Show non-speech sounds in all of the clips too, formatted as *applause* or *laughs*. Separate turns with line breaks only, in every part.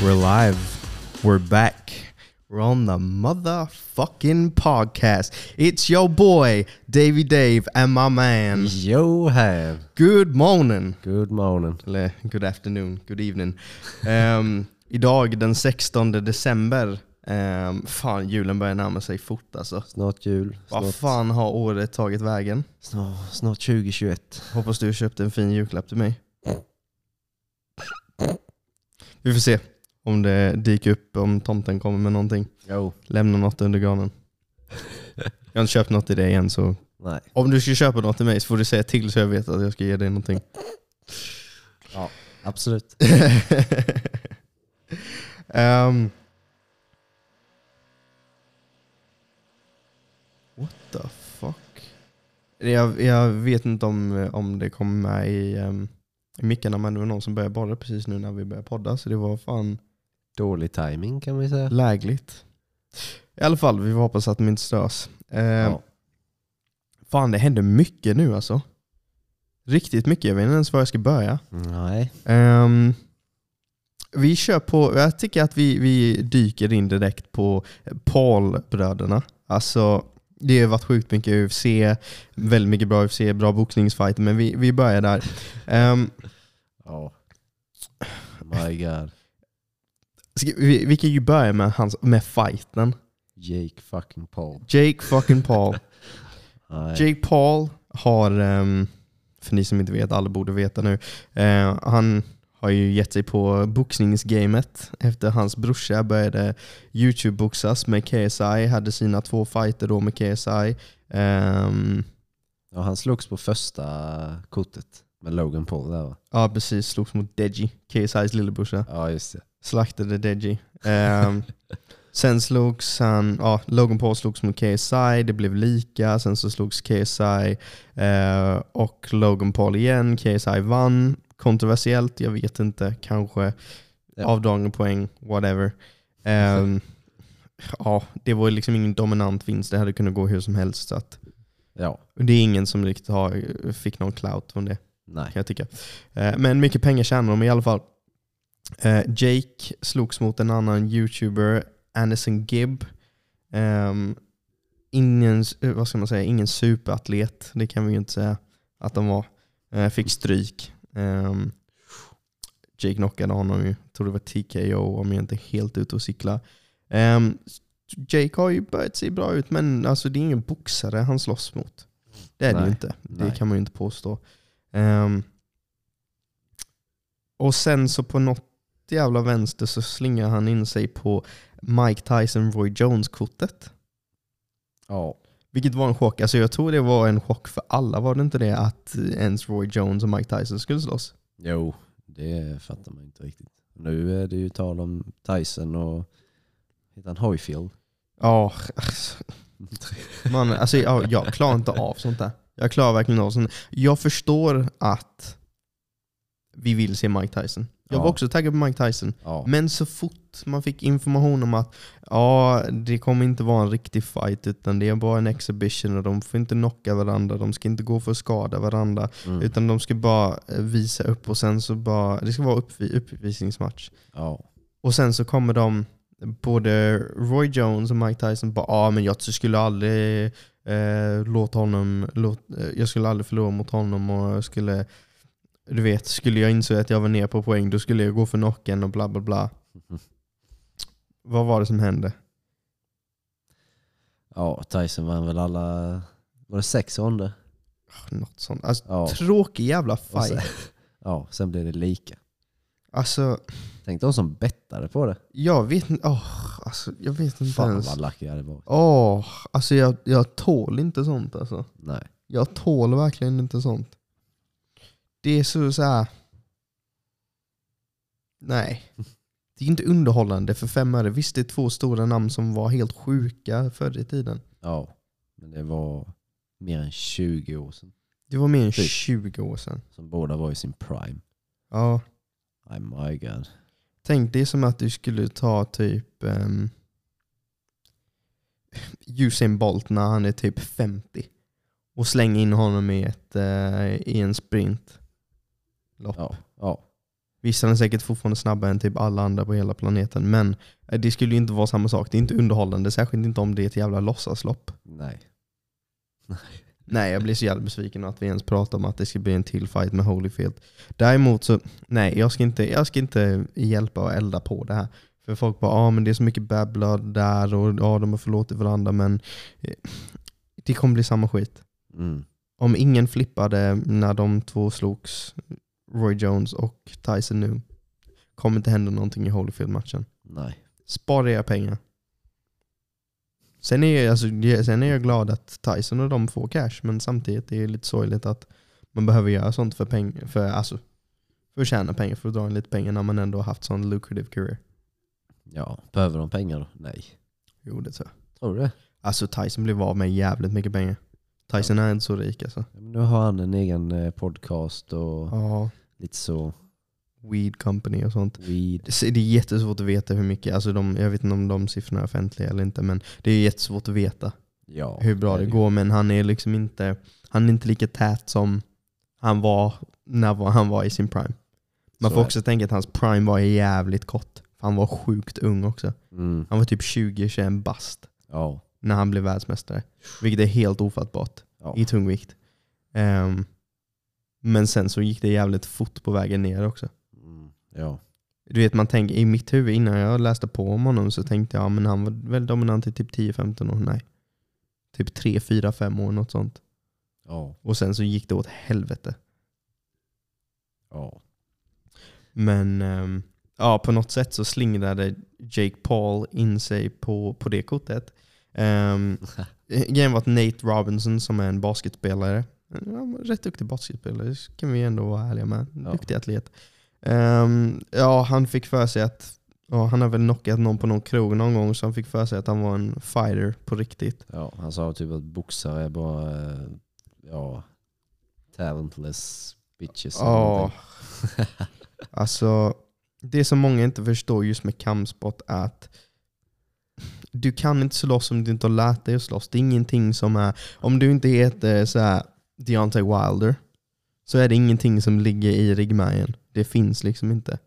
We're live. We're back. We're on the motherfucking podcast. It's your boy, Davy Dave, and my man.
Yo här!
Good morning.
Good morning.
Eller good afternoon, good evening. Ehm, idag den 16 december. Ehm, fan, julen börjar närma sig fort alltså.
Snart jul.
Vad
Snart,
fan har året tagit vägen?
snart, snart 2021.
Hoppas du köpte en fin julklapp till mig. Vi får se om det dyker upp, om tomten kommer med någonting.
Jo.
Lämna något under granen. Jag har inte köpt något till dig än så
Nej.
om du ska köpa något till mig så får du säga till så jag vet att jag ska ge dig någonting.
Ja, absolut.
Ehm. what the fuck? Jag, jag vet inte om, om det kommer med i, um, i mickarna men det var någon som började borra precis nu när vi började podda så det var fan
Dålig timing kan vi säga.
lägligt. I alla fall, vi får hoppas att de inte störs. Ehm,
Ja.
Fan det händer mycket nu alltså. Riktigt mycket, jag vet inte ens var jag ska börja.
Nej.
Ehm, vi kör på, jag tycker att vi, vi dyker in direkt på Paul-bröderna. Alltså, det har varit sjukt mycket UFC, väldigt mycket bra UFC, bra boxningsfighter, men vi, vi börjar där. Ehm,
Ja. My god.
ska, vi, vi kan ju börja med, hans, med fighten.
Jake fucking Paul.
Jake fucking Paul.
Nej.
Jake Paul har, ehm, för ni som inte vet, alla borde veta nu, eh, han har ju gett sig på boxningsgamet efter hans brorsa började YouTube-boxas med KSI, hade sina två fighter då med KSI. Ehm,
Ja, han slogs på första kortet med Logan Paul där va?
ja precis, slogs mot Deji, KSIs lillebrorsa.
Ja just det.
Slaktade Deji. Ehm, sen slogs han, ja, Logan Paul slogs mot KSI, det blev lika. Sen så slogs KSI eh, och Logan Paul igen. KSI vann. Kontroversiellt, jag vet inte. Kanske
Ja.
avdragen poäng, whatever. Ehm, ja, det var ju liksom ingen dominant vinst. Det hade kunnat gå hur som helst. Så att,
Ja.
det är ingen som riktigt har, eh, fick någon clout från det
Nej.
kan jag tycka. Eh, Men mycket pengar tjänar de i alla fall. Eh, Jake slogs mot en annan youtuber, Anderson Gibb. Ehm, Ingen, eh, vad ska man säga, ingen superatlet, det kan vi ju inte säga att de var. Eh, Fick stryk. Ehm, Jake knockade honom ju, tror det var TKO om jag inte är helt ute och cyklar. Ehm, Jake har ju börjat se bra ut men alltså, det är ingen boxare han slåss mot. Det är det
Nej.
ju inte. Det
Nej.
kan man ju inte påstå. Ehm, och sen så på något jävla vänster så slingar han in sig på Mike Tyson Roy Jones-kortet.
Ja.
Vilket var en chock. Alltså jag tror det var en chock för alla, var det inte det? Att ens Roy Jones och Mike Tyson skulle slåss.
Jo, det fattar man inte riktigt. Nu är det ju tal om Tyson och heter han Hoyfield?
Ja, alltså, man, alltså jag, jag klarar inte av sånt där. Jag klarar verkligen av sånt. Jag förstår att vi vill se Mike Tyson. Jag var
Ja.
också taggad på Mike Tyson.
Ja.
Men så fort man fick information om att ja, det kommer inte vara en riktig fight utan det är bara en exhibition och de får inte knocka varandra, de ska inte gå för att skada varandra
Mm.
utan de ska bara eh, visa upp och sen så bara, det ska vara uppvi- uppvisningsmatch.
Ja.
Och sen så kommer de, både Roy Jones och Mike Tyson bara ja men jag skulle aldrig eh, låta honom, låt, eh, jag skulle aldrig förlora mot honom och jag skulle, du vet, skulle jag inse att jag var ner på poäng då skulle jag gå för knocken och bla bla
*laughs*
bla. Vad var det som hände?
Ja, Tyson vann väl alla... Var det sex ronder?
Något sånt. Alltså,
Ja.
Tråkig jävla
Och sen,
fight.
*laughs* ja, sen blev det lika.
Alltså,
Tänk de som bettade på det.
jag vet inte. åh, alltså, jag vet inte
Fan
ens.
vad lucky jag hade varit.
Åh, alltså jag, jag tål inte sånt alltså.
Nej.
Jag tål verkligen inte sånt. Det är så, så här. Nej. Det är inte underhållande för fem öre. Visst, det är två stora namn som var helt sjuka förr i tiden.
Ja, men det var mer än 20 år sedan
Det var mer än
Typ.
20 år sedan.
som båda var i sin prime.
Ja.
Oh my god.
Tänk det är som att du skulle ta typ um, Usain Bolt när han är typ 50 och slänga in honom i, ett, eh, i en sprint.
Ja, ja.
Vissa är säkert fortfarande snabbare än typ alla andra på hela planeten, men eh, det skulle ju inte vara samma sak. Det är inte underhållande, särskilt inte om det är ett jävla låtsaslopp.
Nej.
Nej, jag blir så jävla besviken att vi ens pratar om att det ska bli en till fight med Holyfield. Däremot så, nej, jag ska inte, jag ska inte hjälpa och elda på det här. För folk bara, ja ah, men det är så mycket bad blood där och ja, de har förlåtit varandra men eh, det kommer bli samma skit.
Mm.
Om ingen flippade när de två slogs, Roy Jones och Tyson nu, kommer inte hända någonting i Holyfield-matchen.
Nej.
Spara era pengar. Sen är, jag, alltså, jag- sen är jag glad att Tyson och de får cash, men samtidigt är det lite sorgligt att man behöver göra sånt för, peng, för, alltså, för att tjäna pengar, för att dra in lite pengar när man ändå har haft sån lucrative career.
Ja, behöver de pengar då? Nej.
Jo, det tror jag.
Tror du det?
Alltså Tyson blev av med jävligt mycket pengar. Tyson är inte så rik alltså.
Ja, men Nu har han en egen eh, podcast och
Ja,
lite så
weed company och sånt.
weed.
Det är jättesvårt att veta hur mycket, alltså de, jag vet inte om de siffrorna är offentliga eller inte, men det är jättesvårt att veta.
Ja,
hur bra
är
det
ju.
går, men han är liksom inte, han är inte lika tät som han var när han var i sin prime. Man
Så
får
är
också tänka att hans prime var jävligt kort. För han var sjukt ung också.
Mm.
Han var typ 20-21 bast
Ja.
när han blev världsmästare. Vilket är helt ofattbart
ja.
i tungvikt. Ehm, men sen så gick det jävligt fort på vägen ner också.
Mm. Ja.
Du vet, man tänker, i mitt huvud innan jag läste på om honom så tänkte jag, ja, men han var väl dominant i typ 10-15 år? Nej. Typ 3-4-5 år, något sånt.
Ja.
Och sen så gick det åt helvete.
Ja.
Men ehm, ja, på något sätt så slingrade Jake Paul in sig på, på det kortet. Um, grejen var att Nate Robinson som är en basketspelare, ja, rätt duktig basketspelare, så kan vi ändå vara ärliga med.
Ja.
Duktig atlet. Ehm, ja, han fick för sig att, ja, han har väl knockat någon på någon krog någon gång, så han fick för sig att han var en fighter på riktigt.
ja. Han sa typ att boxare är bara eh, ja, talentless bitches. eller
Ja.
någonting.
*laughs* Alltså, det som många inte förstår just med kampsport är att du kan inte slåss om du inte har lärt dig att slåss. Det är ingenting som är... Om du inte heter så här Deontay Wilder så är det ingenting som ligger i ryggmärgen. Det finns liksom inte.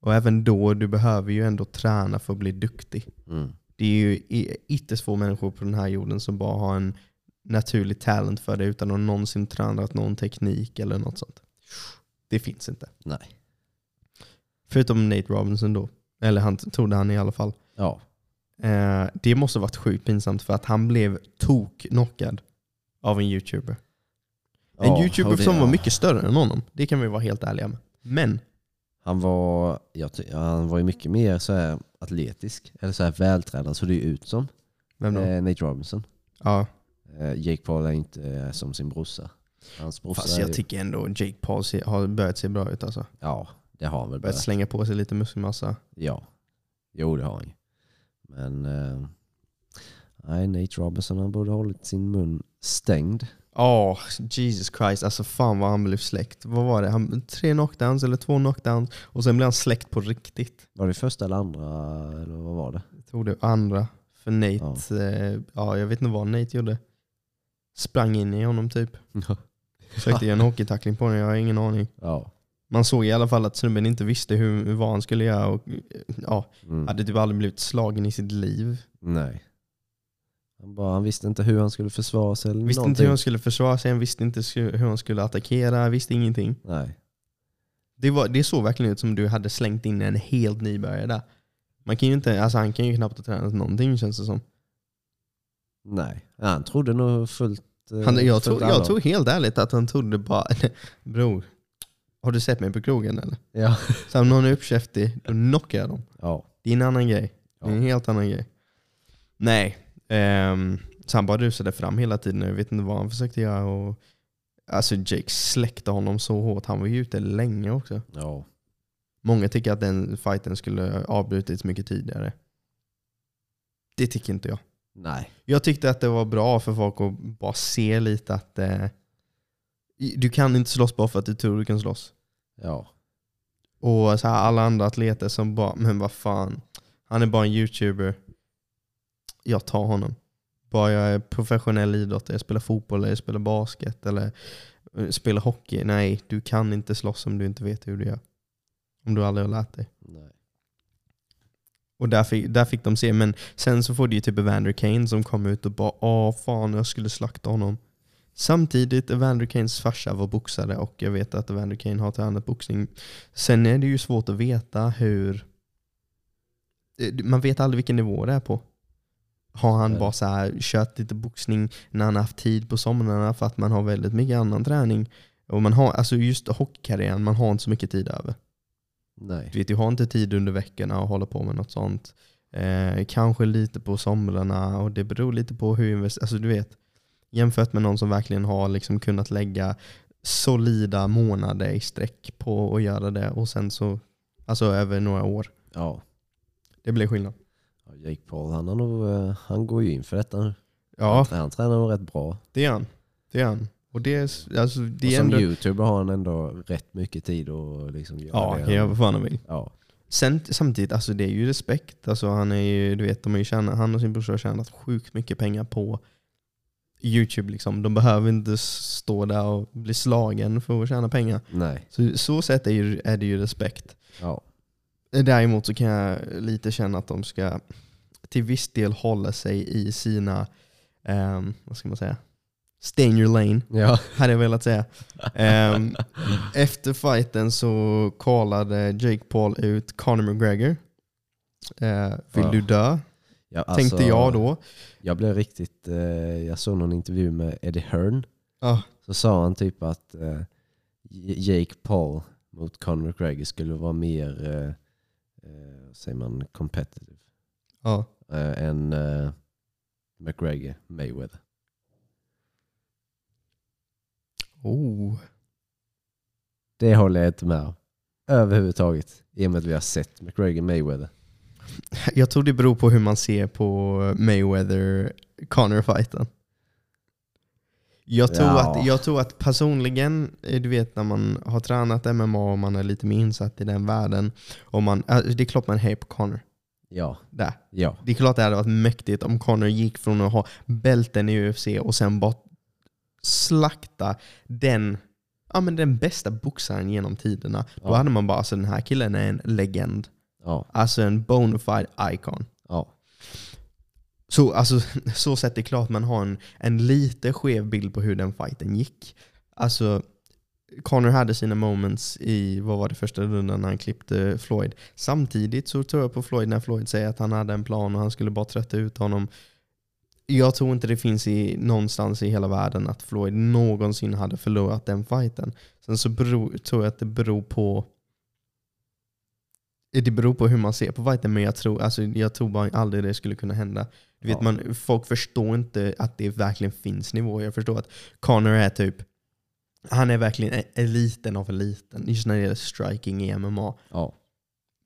Och även då, du behöver ju ändå träna för att bli duktig.
Mm.
Det är ju i- ytterst få människor på den här jorden som bara har en naturlig talent för det utan att någonsin tränat någon teknik eller något sånt. Det finns inte.
Nej.
Förutom Nate Robinson då. Eller han trodde han i alla fall.
Ja.
Eh, det måste varit sjukt pinsamt för att han blev tok-knockad av en youtuber. En
ja.
youtuber
och det-
som var
ja.
mycket större än honom. Det kan vi vara helt ärliga med. Men
Han var, jag ty- han var ju mycket mer så här atletisk, eller så här vältränad, så det är ju ut som
vem då?
eh, Nate Robinson.
ja.
Eh, Jake Paul är inte eh, som sin brorsa. Hans brorsa
Fast
är
jag
ju,
tycker ändå Jake Paul se, har börjat se bra ut alltså.
Ja, det har han väl
Börjat
börjat.
slänga på sig lite muskelmassa.
Ja. Jo, det har han ju. Men eh, nej, Nate Robinson han borde ha hållit sin mun stängd.
Ja, Jesus Christ. Alltså fan vad han blev släckt. Vad var det? Han, tre knockdowns eller två knockdowns och sen blev han släckt på riktigt.
Var det första eller andra, eller vad var det?
Jag tror det var andra. För Nate, ja. Eh, ja jag vet inte vad Nate gjorde. Sprang in i honom typ. Försökte göra en hockeytackling på honom, jag har ingen aning.
ja.
Man såg i alla fall att snubben inte visste hur, vad han skulle göra och eh, ja,
Mm.
hade typ aldrig blivit slagen i sitt liv.
Nej. Han, bara, han visste inte hur han skulle försvara sig eller
Visste
någonting.
inte hur han skulle försvara sig, han visste inte sku- hur han skulle attackera, visste ingenting.
Nej.
Det, var, det såg verkligen ut som du hade slängt in en helt nybörjare där. Man kan ju inte, alltså han kan ju knappt ha tränat någonting känns det som.
Nej, Ja, han trodde nog fullt... eh,
Han, jag,
fullt
tror,
allvar.
jag tror helt ärligt att han trodde bara, bror, har du sett mig på krogen eller?
Ja.
Så om någon är uppkäftig, då knockar jag dem.
ja.
Det är en annan grej. Det är en
Ja.
helt annan grej. Nej. Um, så han bara rusade fram hela tiden. Jag vet inte vad han försökte göra. Och, alltså Jake släckte honom så hårt. Han var ju ute länge också.
ja.
Många tycker att den fighten skulle ha avbrutits mycket tidigare. Det tycker inte jag.
Nej.
Jag tyckte att det var bra för folk att bara se lite att eh, i- du kan inte slåss bara för att du tror du kan slåss.
Ja.
Och så här, alla andra atleter som bara, men vad fan, han är bara en youtuber. Jag tar honom. Bara jag är professionell idrottare, jag spelar fotboll, eller jag spelar basket eller eh, spelar hockey. Nej, du kan inte slåss om du inte vet hur du gör. Om du aldrig har lärt dig.
Nej.
Och där fick, där fick de se, men sen så får du ju typ Evander Kane som kom ut och bara Åh fan, jag skulle slakta honom. Samtidigt, Evander Kanes farsa var boxare och jag vet att Evander Kane har tränat boxning. Sen är det ju svårt att veta hur... eh, Man vet aldrig vilken nivå det är på. Har han
Nej.
bara så här, kört lite boxning när han har haft tid på somrarna för att man har väldigt mycket annan träning. Och man har, alltså just hockeykarriären, man har inte så mycket tid över.
Nej.
Du vet, jag har inte tid under veckorna att hålla på med något sånt. Eh, kanske lite på somrarna och det beror lite på hur invest- alltså du vet Jämfört med någon som verkligen har liksom kunnat lägga solida månader i sträck på att göra det och sen så, alltså över några år.
Ja.
Det blir skillnad.
Ja, Jake Paul, han, har nog, eh, han går ju in för detta nu.
Ja,
Han tränar nog rätt bra.
det gör han. Det gör han. Och det, är- alltså,
och
det är
som
ändå...
youtuber har han ändå rätt mycket tid att liksom göra
Ja,
det.
han kan göra vad fan han vill.
Ja.
Sen, samtidigt, alltså det är ju respekt. Alltså han, är ju, du vet, de har ju tjänat, han och sin brorsa har tjänat sjukt mycket pengar på Youtube. Liksom. De behöver inte stå där och bli slagen för att tjäna pengar.
Nej.
Så, så sätt är, ju, är det ju respekt.
Ja.
Däremot så kan jag lite känna att de ska till viss del hålla sig i sina, ehm, vad ska man säga, stay in your lane
Ja.
hade jag velat säga. Ehm, efter fighten så kallade Jake Paul ut Conor McGregor. Eh, vill
Ja. Alltså-
du dö?
ja
Tänkte jag då.
Jag blev riktigt, eh, jag såg någon intervju med Eddie Hearn.
Ja.
Så sa han typ att eh, J- Jake Paul mot Conor McGregor skulle vara mer, eh, eh, vad säger man, competitive
Ja.
eh, än eh, McGregor Mayweather.
Oh.
Det håller jag inte med om. Överhuvudtaget. I och med att vi har sett McGregor Mayweather.
Jag tror det beror på hur man ser på Mayweather-Conor-fighten. Jag tror,
Ja.
att, jag tror att personligen, eh, du vet när man har tränat MMA och man är lite mer insatt i den världen. Och man, eh, det är klart man hejar på Conor.
Ja.
Där.
Ja.
Det är klart det hade varit mäktigt om Conor gick från att ha bälten i UFC och sen bara slakta den, ja, men den bästa boxaren genom tiderna. Då
Ja.
hade man bara, alltså den här killen är en legend.
Ja.
Alltså en bona fide icon.
Ja.
Så, alltså, *laughs* så sett är det klart man har en, en lite skev bild på hur den fighten gick. Alltså, Conor hade sina moments i, vad var det, första rundan när han klippte Floyd. Samtidigt så tror jag på Floyd när Floyd säger att han hade en plan och han skulle bara trötta ut honom. Jag tror inte det finns i, någonstans i hela världen att Floyd någonsin hade förlorat den fighten. Sen så beror, tror jag att det beror på det beror på hur man ser på fighten, men jag tror, alltså, jag tror bara aldrig det skulle kunna hända. Du vet,
Ja.
man, folk förstår inte att det verkligen finns nivåer. Jag förstår att Conor är typ, han är verkligen e- eliten av eliten, just när det gäller striking i MMA.
Ja.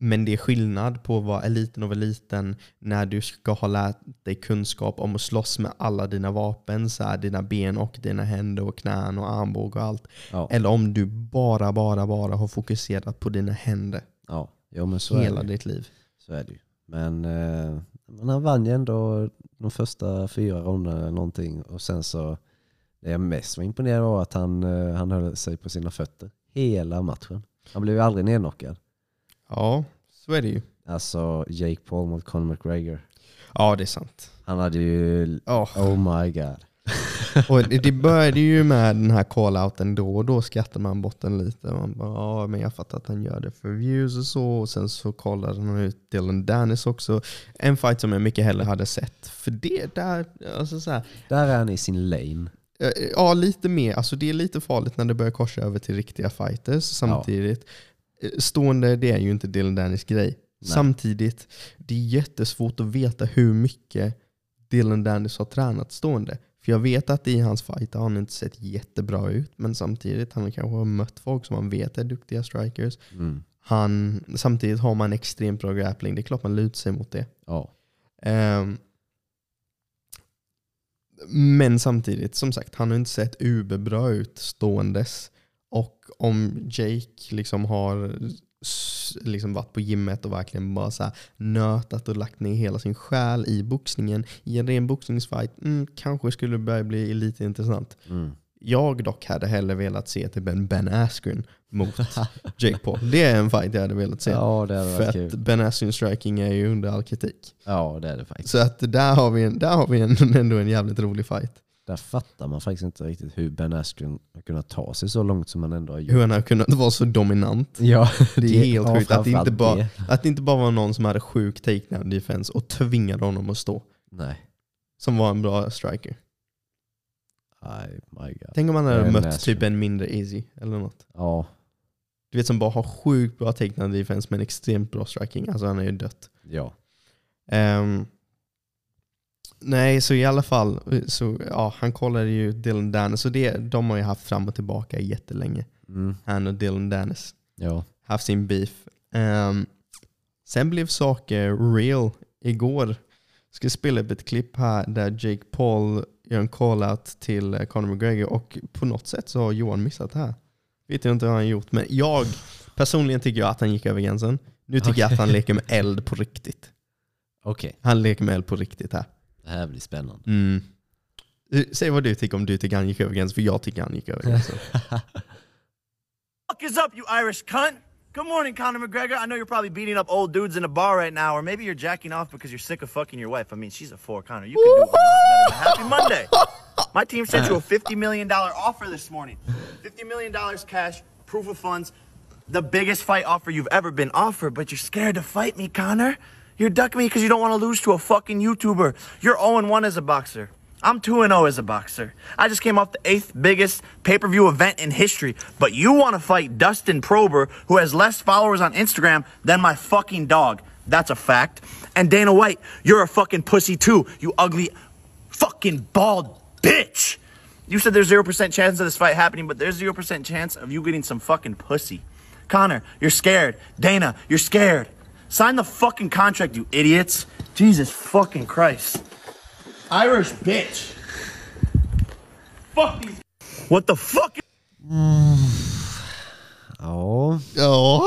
Men det är skillnad på att vara eliten av eliten när du ska ha lärt dig kunskap om att slåss med alla dina vapen, så här, dina ben och dina händer och knän och armbåge och allt.
Ja.
Eller om du bara, bara, bara har fokuserat på dina händer
ja. Jo, men så
hela
är det.
ditt liv.
Så är det ju. Men, eh, men han vann ju ändå de första fyra ronderna eller någonting. Och sen så, det jag mest var imponerad av var att han, eh, han höll sig på sina fötter hela matchen. Han blev ju aldrig nedknockad.
Ja, så är det ju.
Alltså Jake Paul mot Conor McGregor.
Ja, det är sant.
Han hade ju,
Ja.
oh my god.
Och det det började ju med den här call-outen då och då skrattar man bort den lite. Man bara, ja men jag fattar att han gör det för views och så. Och sen så kollade han ut Dylan Dennis också. En fight som jag mycket hellre hade sett. För det där, alltså så här,
Där är han i sin lane.
Eh, Ja, lite mer. Alltså, det är lite farligt när det börjar korsa över till riktiga fighters samtidigt. Eh, Stående, det är ju inte Dylan Dennis grej.
Nej.
Samtidigt, det är jättesvårt att veta hur mycket Dylan Dennis har tränat stående. För jag vet att i hans fight har han inte sett jättebra ut, men samtidigt han kanske har mött folk som han vet är duktiga strikers.
Mm.
Han, samtidigt har man extremt bra grappling, det är klart man lutar sig mot det.
Ja.
Ehm, men samtidigt, som sagt, han har inte sett uberbra ut ståendes. Och om Jake liksom har s- liksom varit på gymmet och verkligen bara så här nötat och lagt ner hela sin själ i boxningen i en ren boxningsfight, mm, kanske skulle det börja bli lite intressant.
Mm.
Jag dock hade hellre velat se typ en Ben Askren
*laughs*
mot Jake Paul. Det är en fight jag hade velat se.
Ja, det hade
för
varit
att
kul.
Ben Askren striking är ju under all kritik.
Ja, det är det faktiskt.
Så att där har vi, en, där har vi en, *laughs* ändå en jävligt rolig fight.
Där fattar man faktiskt inte riktigt hur Ben Askren har kunnat ta sig så långt som han ändå har gjort.
Hur han har kunnat vara så
*laughs*
dominant.
Ja,
Det är helt
ja,
sjukt att det inte
framförallt
bara-
det.
Att det inte bara var någon som hade sjuk takedown defense och tvingade honom att stå.
Nej.
Som var en bra striker.
Ay, my God.
Tänk om han hade
Ben
mött
Askren.
typ en mindre easy eller något.
Ja,
Du vet som bara har sjukt bra takedown defense men extremt bra striking. Alltså han är ju dött.
ja.
Ehm, nej, så i alla fall, så, ja, han kollade ju Dylan Dennis och det, de har ju haft fram och tillbaka jättelänge.
Mm.
Han och Dylan Dennis
Ja.
haft sin beef. Ehm, sen blev saker real igår. Ska spela upp ett klipp här där Jake Paul gör en call-out till eh, Conor McGregor och på något sätt så har Johan missat det här. Vet jag inte vad han gjort, men jag personligen tycker jag att han gick över gränsen. Nu tycker jag att han leker med eld på riktigt.
Okej,
Han leker med eld på riktigt här.
det här blir spännande.
Mm. Eh, Säg vad du tycker om du tycker han gick över gränsen, för jag tycker han gick över gränsen.
fuck is up, you Irish cunt? Good morning, Conor McGregor. I know you're probably beating up old dudes in a bar right now, or maybe you're jacking off because you're sick of fucking your wife. I mean, she's a four, Conor. You can do a lot better. Happy Monday. My team sent you a $50 million offer this morning. $50 million cash, proof of funds, the biggest fight offer you've ever been offered, but you're scared to fight me, Connor. You're ducking me because you don't want to lose to a fucking YouTuber. You're 0 1 as a boxer. I'm 2 0 as a boxer. I just came off the eighth biggest pay per view event in history, but you want to fight Dustin Prober, who has less followers on Instagram than my fucking dog. That's a fact. And Dana White, you're a fucking pussy too, you ugly fucking bald bitch. You said there's 0% chance of this fight happening, but there's 0% chance of you getting some fucking pussy. Connor, you're scared. Dana, you're scared. Sign the fucking contract, you idiots. Jesus fucking Christ. Irish bitch. Fuck these. What the fuck?
Ja.
*laughs* ja.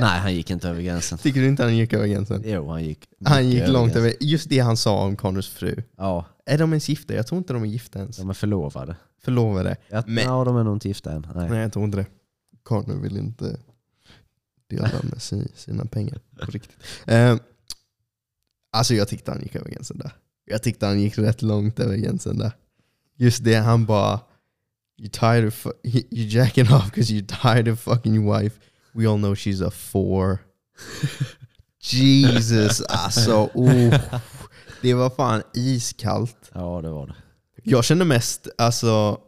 Nej, han gick inte över gränsen.
Tycker du inte han gick över gränsen?
Jo, han gick
Han gick
mycket
långt
gränsen.
över. Just det han sa om Connors fru.
Ja,
Är de ens gifta? Jag tror inte de är gifta ens.
de är förlovade.
Förlovade.
Ja,
Men-
ja, de är nog inte gifta än. Nej.
Nej, jag tror inte det. Connor vill inte dela med si- sina pengar på riktigt. Eh, alltså jag tyckte han gick över gränsen där. Jag tyckte han gick rätt långt över gränsen där. Just det, han bara You tired of fu- you jacking off because you tired of fucking your wife. We all know she's a
*laughs*
four. Jesus, alltså. Oh, det var fan iskallt.
Ja, det var det.
Jag känner mest, alltså,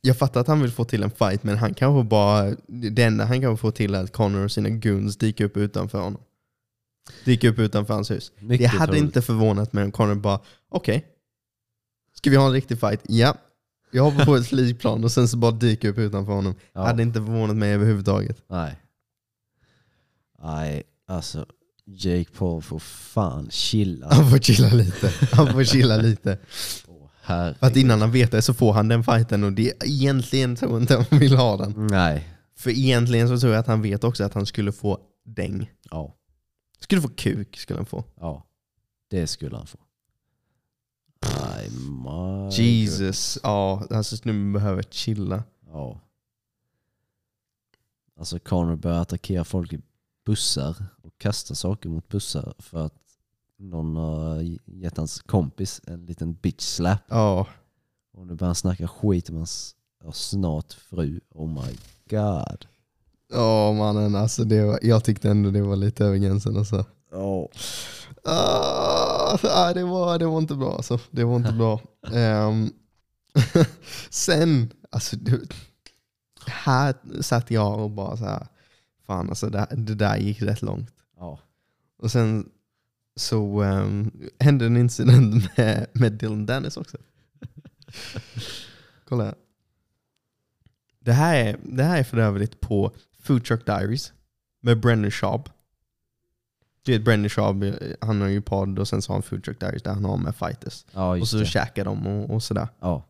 jag fattar att han vill få till en fight, men han kanske bara, det enda han kanske få till är att Connor och sina guns dyker upp utanför honom. Dyker upp utanför hans hus.
Mycket
det hade
troligt.
inte förvånat mig om Connor bara, okej, ska vi ha en riktig fight? Ja. Jag hoppar
*laughs*
på ett flygplan och sen så bara dyker upp utanför honom.
Ja.
Hade inte förvånat mig överhuvudtaget.
Nej. Nej, alltså. Jake Paul får fan chilla.
Han får chilla lite. Han får
*laughs*
chilla lite.
Åh, herre.
För att innan han vet det så får han den fighten och det, egentligen tror jag inte han vill ha den.
Nej.
För egentligen så tror jag att han vet också att han skulle få däng.
Ja,
Skulle få kuk, skulle han få.
ja. Det skulle han få. Nej, my God.
Jesus. Ja, alltså snubben behöver chilla.
Ja. Alltså Connor börjar attackera folk i bussar och kasta saker mot bussar för att någon har gett hans kompis en liten bitch slap.
Ja.
Och nu börjar han snacka skit om hans ja, snart fru. Oh my god.
Ja mannen, alltså det var, jag tyckte ändå det var lite över gränsen alltså.
Ja.
Ah, nej, det, var, det var inte bra alltså. Det var inte *laughs* bra. Ehm, sen, alltså du, här satt jag och bara så här, fan alltså det, det där gick rätt långt.
Ja.
Och sen så ehm, hände en incident *laughs* med, med Dylan Dennis också. *laughs* Kolla här. Det här är, det här är för övrigt på Food Truck Diaries med Brendan Schaub. Du vet Brendan Schaub, eh, han har ju podd och sen så har han Food Truck Diaries där han har med fighters.
Ja,
Och
just
så
det.
käkar de och, och sådär.
Ja.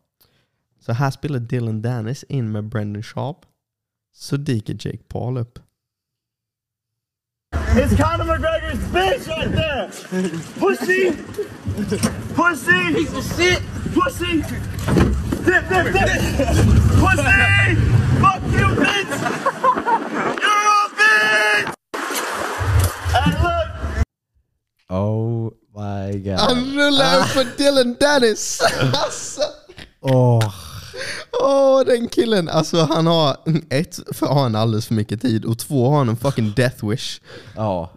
Så här spelar Dylan Dennis in med Brendan Schaub. Så dyker Jake Paul upp.
It's Conor McGregor's bitch right there. Pussy. Pussy. Piece of shit. Pussy! Dip, dip, dip! Pussy! Fuck you, bitch! You're a bitch! And look,
Oh my
Han
god.
rullar upp för Dylan *laughs* Dennis. Alltså,
Åh.
åh den killen. Alltså han har, ett, för har han alldeles för mycket tid och två har han en fucking death wish.
Ja.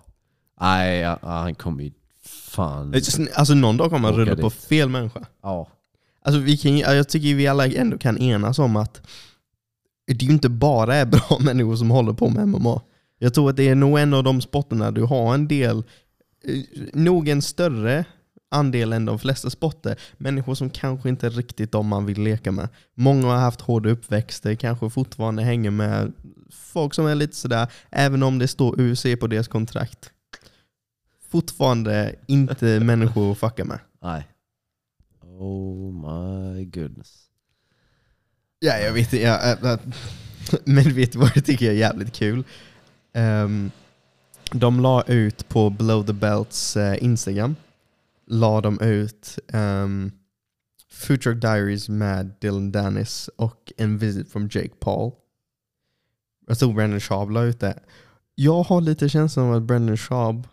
Nej, ja, ja, han kommer ju fan...
Alltså någon dag kommer han
Åka
rulla på
dit.
fel människa.
Ja.
Alltså vi kan, ju- jag tycker vi alla ändå kan enas om att det ju inte bara är bra *laughs* människor som håller på med MMA. Jag tror att det är nog en av de sporterna du har en del, eh, nog en större andel än de flesta sporter, människor som kanske inte är riktigt de man vill leka med. Många har haft hårda uppväxter, kanske fortfarande hänger med folk som är lite sådär, även om det står UFC på deras kontrakt. Fortfarande inte människor att fucka med.
Nej. Oh my goodness.
Ja, jag vet inte. Jag, jag, jag, *laughs* men vet du vad jag tycker är jävligt kul? Ehm, de la ut på Blow the Belts eh, Instagram, la de ut ehm, Future Diaries med Dylan Dennis och En visit from Jake Paul. Jag tror Brendan Schaub la ut det. Jag har lite känslan av att Brendan Schaub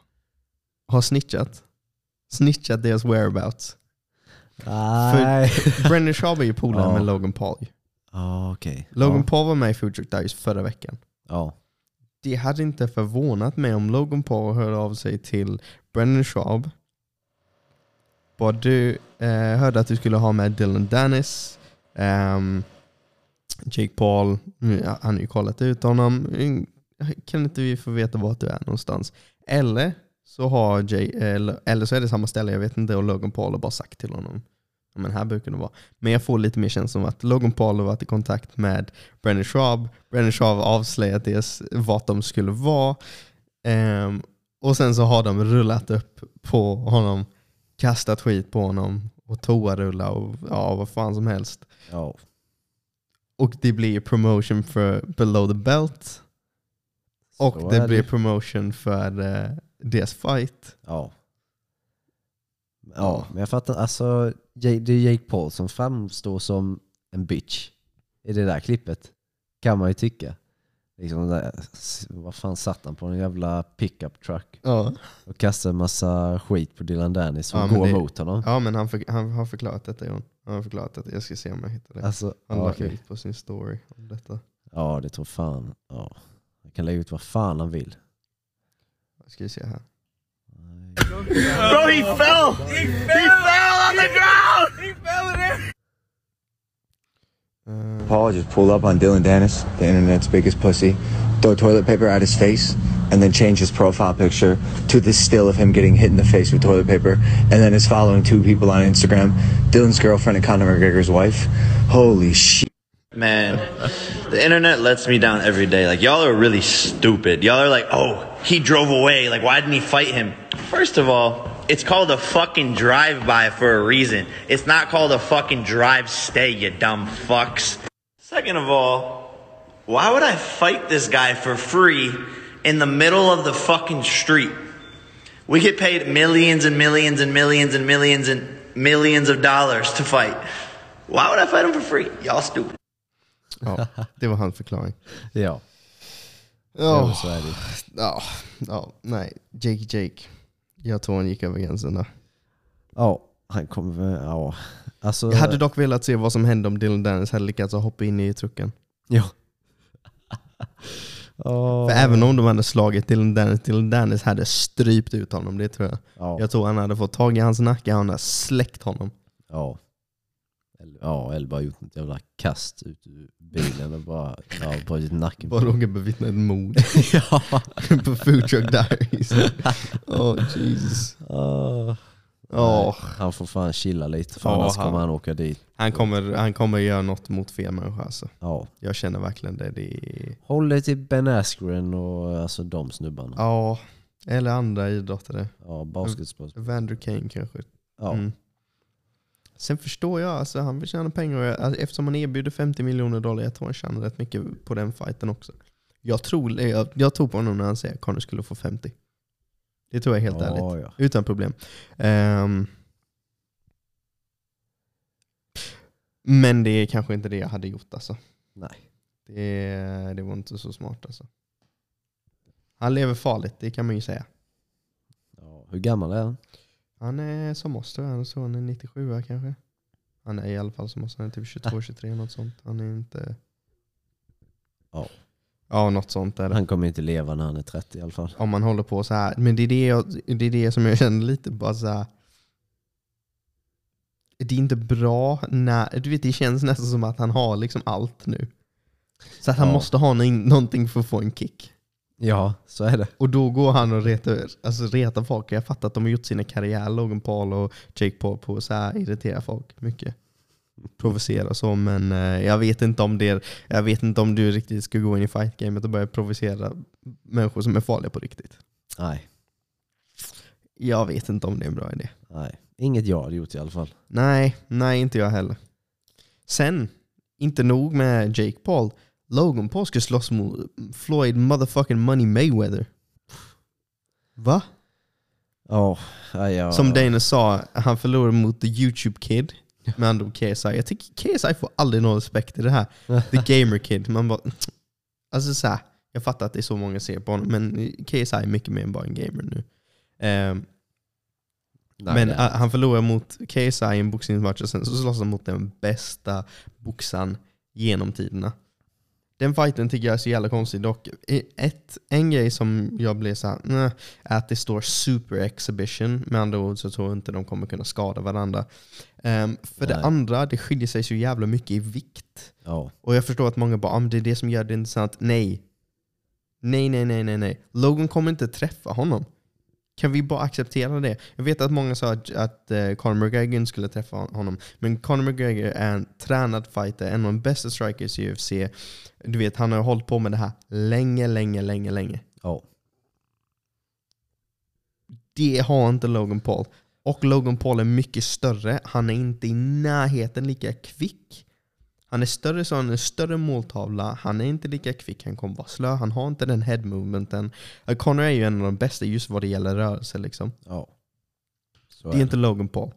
har snitchat. Snitchat deras whereabouts.
Nej.
Brendan Schaub är ju polare
Ja.
med Logan Paul. ju.
*laughs* Ja, okej.
Logan
Ja.
Paul var med i Future Diaries förra veckan.
Ja.
Det hade inte förvånat mig om Logan Paul hörde av sig till Brendan Schaub. Bara du eh, hörde att du skulle ha med Dylan Dennis. ehm, Jake Paul, mm, ja, han har ju kollat ut honom. Mm, Kan inte vi få veta vart du är någonstans? Eller så, har Jay, eller, eller så är det samma ställe, jag vet inte, och Logan Paul har bara sagt till honom. "Ja, Men här brukar det vara. Men jag får lite mer känslan av att Logan Paul har varit i kontakt med Brendan Schaub. Brendan Schaub avslöjat deras, vart de skulle vara. Ehm, och sen så har de rullat upp på honom, kastat skit på honom och toarullat och ja, vad fan som helst.
Ja.
Och det blir promotion för Below the Belt och
Så
det
är
blir promotion för eh, deras fight.
Ja.
Ja.
Ja, men jag fattar Alltså, Ja- det är Jake Paul som framstår som en bitch i det där klippet. Kan man ju tycka. Liksom den där, s- vad fan satt han på? En jävla pickup truck
Ja,
och kastade en massa skit på Dylan Dennis som
Ja, men
går
det-
mot honom.
ja men han, för, han har förklarat detta Jon. Han har förklarat detta. Jag ska se om jag hittar det.
Alltså,
Han
ja,
la
okej.
ut på sin story om detta.
ja, det tror fan. Ja. Han kan lägga ut vad fan han vill.
Jag ska se här.
Bro, he fell! He fell, on the ground!
Paul just pulled up on Dylan Dennis, the internet's biggest pussy, throw toilet paper at his face, and then change his profile picture to this still of him getting hit in the face with toilet paper, and then is following two people on Instagram, Dylan's girlfriend and Conor McGregor's wife. Holy shit.
Man, the internet lets me down every day. Like, y'all are really stupid. Y'all are like, oh, he drove away. Like, why didn't he fight him? First of all, it's called a fucking drive by for a reason. It's not called a fucking drive stay, you dumb fucks. Second of all, why would I fight this guy for free in the middle of the fucking street? We get paid millions and millions and millions and millions and millions of dollars to fight. Why would I fight him for free? Y'all stupid.
Ja, *laughs* det var hans förklaring.
Ja,
Ja.
oh. så är det ju.
Ja, ja, nej. Jake Jake. Jag tror han gick över gränsen där.
Ja, han kommer... Ja. Alltså,
Jag hade dock velat se vad som hände om Dylan Dennis hade lyckats hoppa in i trucken.
eh, Ja. Ja.
För även om de hade slagit Dylan Dennis, Dylan Dennis hade strypt ut honom, det tror jag.
Ja.
Jag tror han hade fått tag i hans nacke, han hade släckt honom.
Ja. Eller, ja, eller bara gjort något jävla kast ut ur bilen och bara ja, brutit nacken.
Bara råkat bevittna ett *laughs* mord
ja.
på Food Truck Diaries. Oh Jesus.
Ah.
Ja,
Nej, Han får fan chilla lite för
Ja,
annars
han-
kommer han åka dit.
han, kommer, han kommer göra något mot fel människa alltså.
Ja.
Jag känner verkligen det. det är...
Håll dig till Ben Askren och alltså, de snubbarna. Ja,
Ja, eller andra idrottare.
basketspelare.
Vander Kane kanske.
Ja.
Mm. Sen förstår jag, alltså, han vill tjäna pengar och jag- alltså, eftersom han erbjuder 50 miljoner dollar, jag tror han tjänar rätt mycket på den fighten också. Jag tror, eh, jag, jag tror på honom när han säger att Conor skulle få 50. Det tror jag helt
ja,
ärligt.
Ja.
Utan problem. Ehm, Men det är kanske inte det jag hade gjort alltså.
Nej.
Det, det var inte så smart alltså. Han lever farligt, det kan man ju säga.
Ja, hur gammal är han?
Han är som oss tror jag, han är så han är 97 kanske. Han är i alla fall som oss, han är typ
*laughs*
22-23 något sånt. Han är inte...
Ja.
Ja, något sånt är det.
Han kommer inte leva när han är 30 i alla fall.
Om man håller på så här. Men det är det, jag, det, är det som jag känner lite bara så här. Det är inte bra när, du vet det känns nästan som att han har liksom allt nu. Så att han
Ja.
måste ha någon- någonting för att få en kick.
Ja, så är det.
Och då går han och retar, alltså retar folk. Jag fattar att de har gjort sina karriärer, Logan Paul och Jake Paul, på att så här irritera folk mycket. Provocera och så, men eh, jag vet inte om det är, jag vet inte om du riktigt ska gå in i fight-gamet och börja provocera människor som är farliga på riktigt.
Nej,
Jag vet inte om det är en bra idé.
nej. Inget jag hade gjort i alla fall.
Nej, nej inte jag heller. Sen, inte nog med Jake Paul. Logan Paul ska slåss mot Floyd motherfucking Money Mayweather. Va?
Ja, nej, jag...
Som Dana sa, han förlorade mot The YouTube Kid. Med andra ord KSI. Jag tycker KSI får aldrig någon respekt i det här. The Gamer Kid. Man bara... Alltså så här, jag fattar att det är så många ser på honom, men KSI är mycket mer än bara en gamer nu. Ehm,
Nej,
men äh-
nej.
a- han förlorar mot KSI i en boxningsmatch och sen så slåss han mot den bästa boxaren genom tiderna. Den fighten tycker jag är så jävla konstig dock. E- Ett, en grej som jag blev såhär, "Nä", är att det står super exhibition. Med andra ord så tror jag inte de kommer kunna skada varandra. Ehm, för det
Nej.
andra, det skiljer sig så jävla mycket i vikt.
Ja,
Och jag förstår att många bara, ah, men det är det som gör det intressant. Nej. Nej, nej, nej, nej, nej. Logan kommer inte träffa honom. Kan vi bara acceptera det? Jag vet att många sa att, att eh, Conor McGregor inte skulle träffa hon- honom. Men Conor McGregor är en tränad fighter, en av de bästa strikers i UFC. Du vet, han har hållit på med det här länge, länge, länge, länge.
ja.
Det har inte Logan Paul. Och Logan Paul är mycket större. Han är inte i närheten lika kvick. Han är större så han har en större måltavla. Han är inte lika kvick. Han kommer vara slö. Han har inte den head movementen. Eh, Conor är ju en av de bästa just vad det gäller rörelse. Liksom.
ja. Så
Det är inte *laughs* Logan Paul.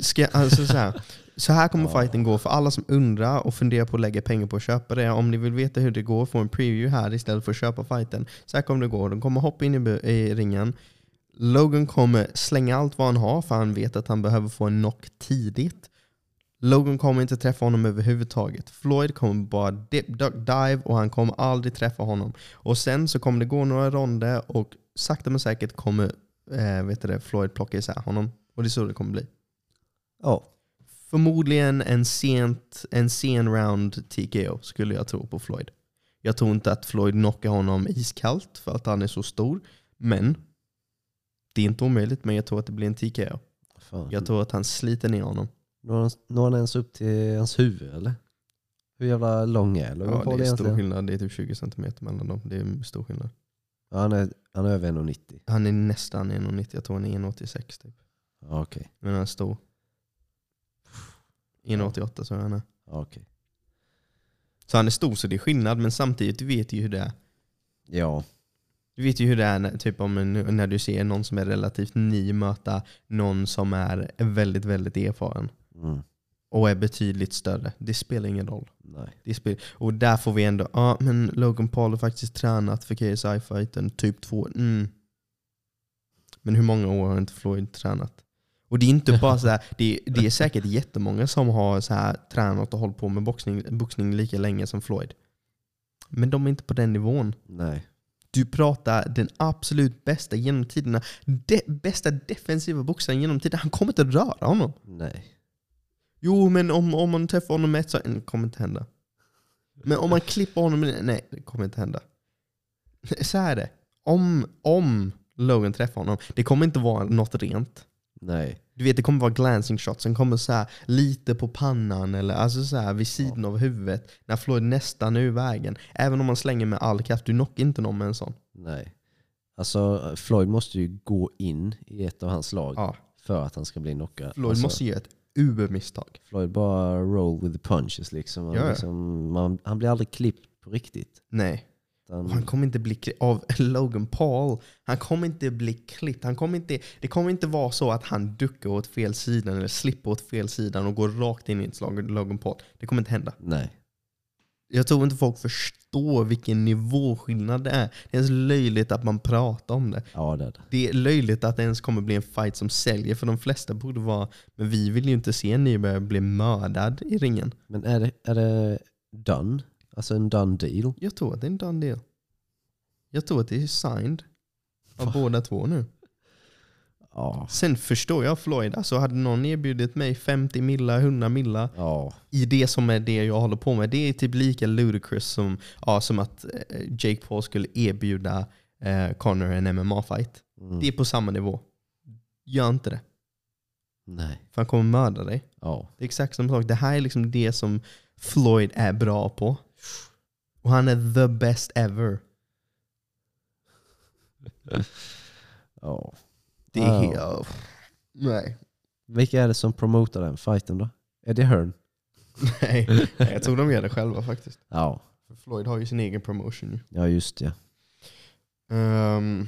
Ska, jag- alltså, så, här, så här kommer fighten gå för alla som undrar och funderar på att lägga pengar på att köpa det. Om ni vill veta hur det går, få en preview här istället för att köpa fighten. Så här kommer det gå. De kommer hoppa in i, bu- i ringen. Logan kommer slänga allt vad han har för han vet att han behöver få en knock tidigt. Logan kommer inte träffa honom överhuvudtaget. Floyd kommer bara dip, duck, dive och han kommer aldrig träffa honom. Och sen så kommer det gå några ronder och sakta men säkert kommer eh, vet du det, Floyd plocka isär honom. Och det är så det kommer bli.
Ja,
Förmodligen en, sent, en sen round TKO skulle jag tro på Floyd. Jag tror inte att Floyd knockar honom iskallt för att han är så stor. Men det är inte omöjligt, men jag tror att det blir en TKO.
fan.
Jag tror att han sliter ner honom.
Når han, når han ens upp till hans huvud eller? Hur jävla lång är Logan
Ja,
Paul
det är stor
egentligen?
skillnad. Det är typ 20 centimeter mellan dem. Det är stor skillnad.
Ja, han, är, han är över 1,90.
Han är nästan 1,90. Jag tror han är 1,86 typ.
Ja, okej.
Men han är stor. 1,88 så är han är.
Ja, okej.
Så han är stor så det är skillnad, men samtidigt du vet ju hur det är.
Ja,
Du vet ju hur det är när, typ om, en- när du ser någon som är relativt ny möta någon som är väldigt, väldigt erfaren
mm.
och är betydligt större. Det spelar ingen roll.
nej.
Det spel och där får vi ändå, ja men Logan Paul har faktiskt tränat för KSI-fighten typ två år. Mm. Men hur många år har inte Floyd tränat? Och det är inte bara så här, det, det är säkert jättemånga som har så här, tränat och hållit på med boxning, boxning lika länge som Floyd. Men de är inte på den nivån.
Nej.
Du pratar den absolut bästa genom tiderna. De, bästa defensiva boxaren genom tiderna. Han kommer inte röra honom.
Nej.
Jo, men om, om man träffar honom med ett så... Det kommer inte hända. Men om man klipper honom... med- Nej, det kommer inte hända. Så här är det. Om, om Logan träffar honom, det kommer inte vara något rent.
Nej.
Du vet, det kommer vara glancing shots. Sen kommer så här lite på pannan eller alltså så här vid sidan av huvudet. När Floyd nästan är ur vägen. Även om man slänger med all kraft. Du knockar inte någon med en sån.
Nej. Alltså Floyd måste ju gå in i ett av hans slag
Ja.
för att han ska bli knockad.
Floyd
alltså,
måste göra ett ubermisstag.
Floyd bara roll with the punches liksom. Han,
Ja, ja.
liksom man, han blir aldrig klippt på riktigt.
Nej. Och
Utan,
han kommer inte bli kli- av *laughs* Logan Paul. Han kommer inte bli klippt. Han kommer inte, det kommer inte vara så att han duckar åt fel sidan eller slipper åt fel sidan och går rakt in i ett slag med Logan Paul. Det kommer inte hända.
nej.
Jag tror inte folk förstår vilken nivåskillnad det är. Det är ens löjligt att man pratar om det.
Ja, det är det.
Det är löjligt att det ens kommer bli en fight som säljer för de flesta borde vara men vi vill ju inte se en nybörjare bli mördad i ringen.
Men är det, är det done? Alltså en done deal?
Jag tror att det är en done deal. Jag tror att det är signed av
Fan.
båda två nu.
Ja.
Sen förstår jag Floyd. Alltså hade någon erbjudit mig 50 milla, 100 milla
Ja.
i det som är det jag håller på med. Det är typ lika ludicrous som, ja, som att eh, Jake Paul skulle erbjuda eh, Connor en MMA-fight.
Mm.
Det är på samma nivå. Gör inte det.
Nej.
För han kommer mörda dig.
Ja.
Det är exakt samma sak. Det här är liksom det som Floyd är bra på. Och han är the best ever.
ja.
Det är
Ja.
helt... Nej.
Ah.
*laughs*
Vilka är det som promotar den fighten då? Är det Hearn?
Nej. Jag tror de gör det själva faktiskt.
Ja.
För Floyd har ju sin egen promotion ju.
Ja, just det.
Ehm,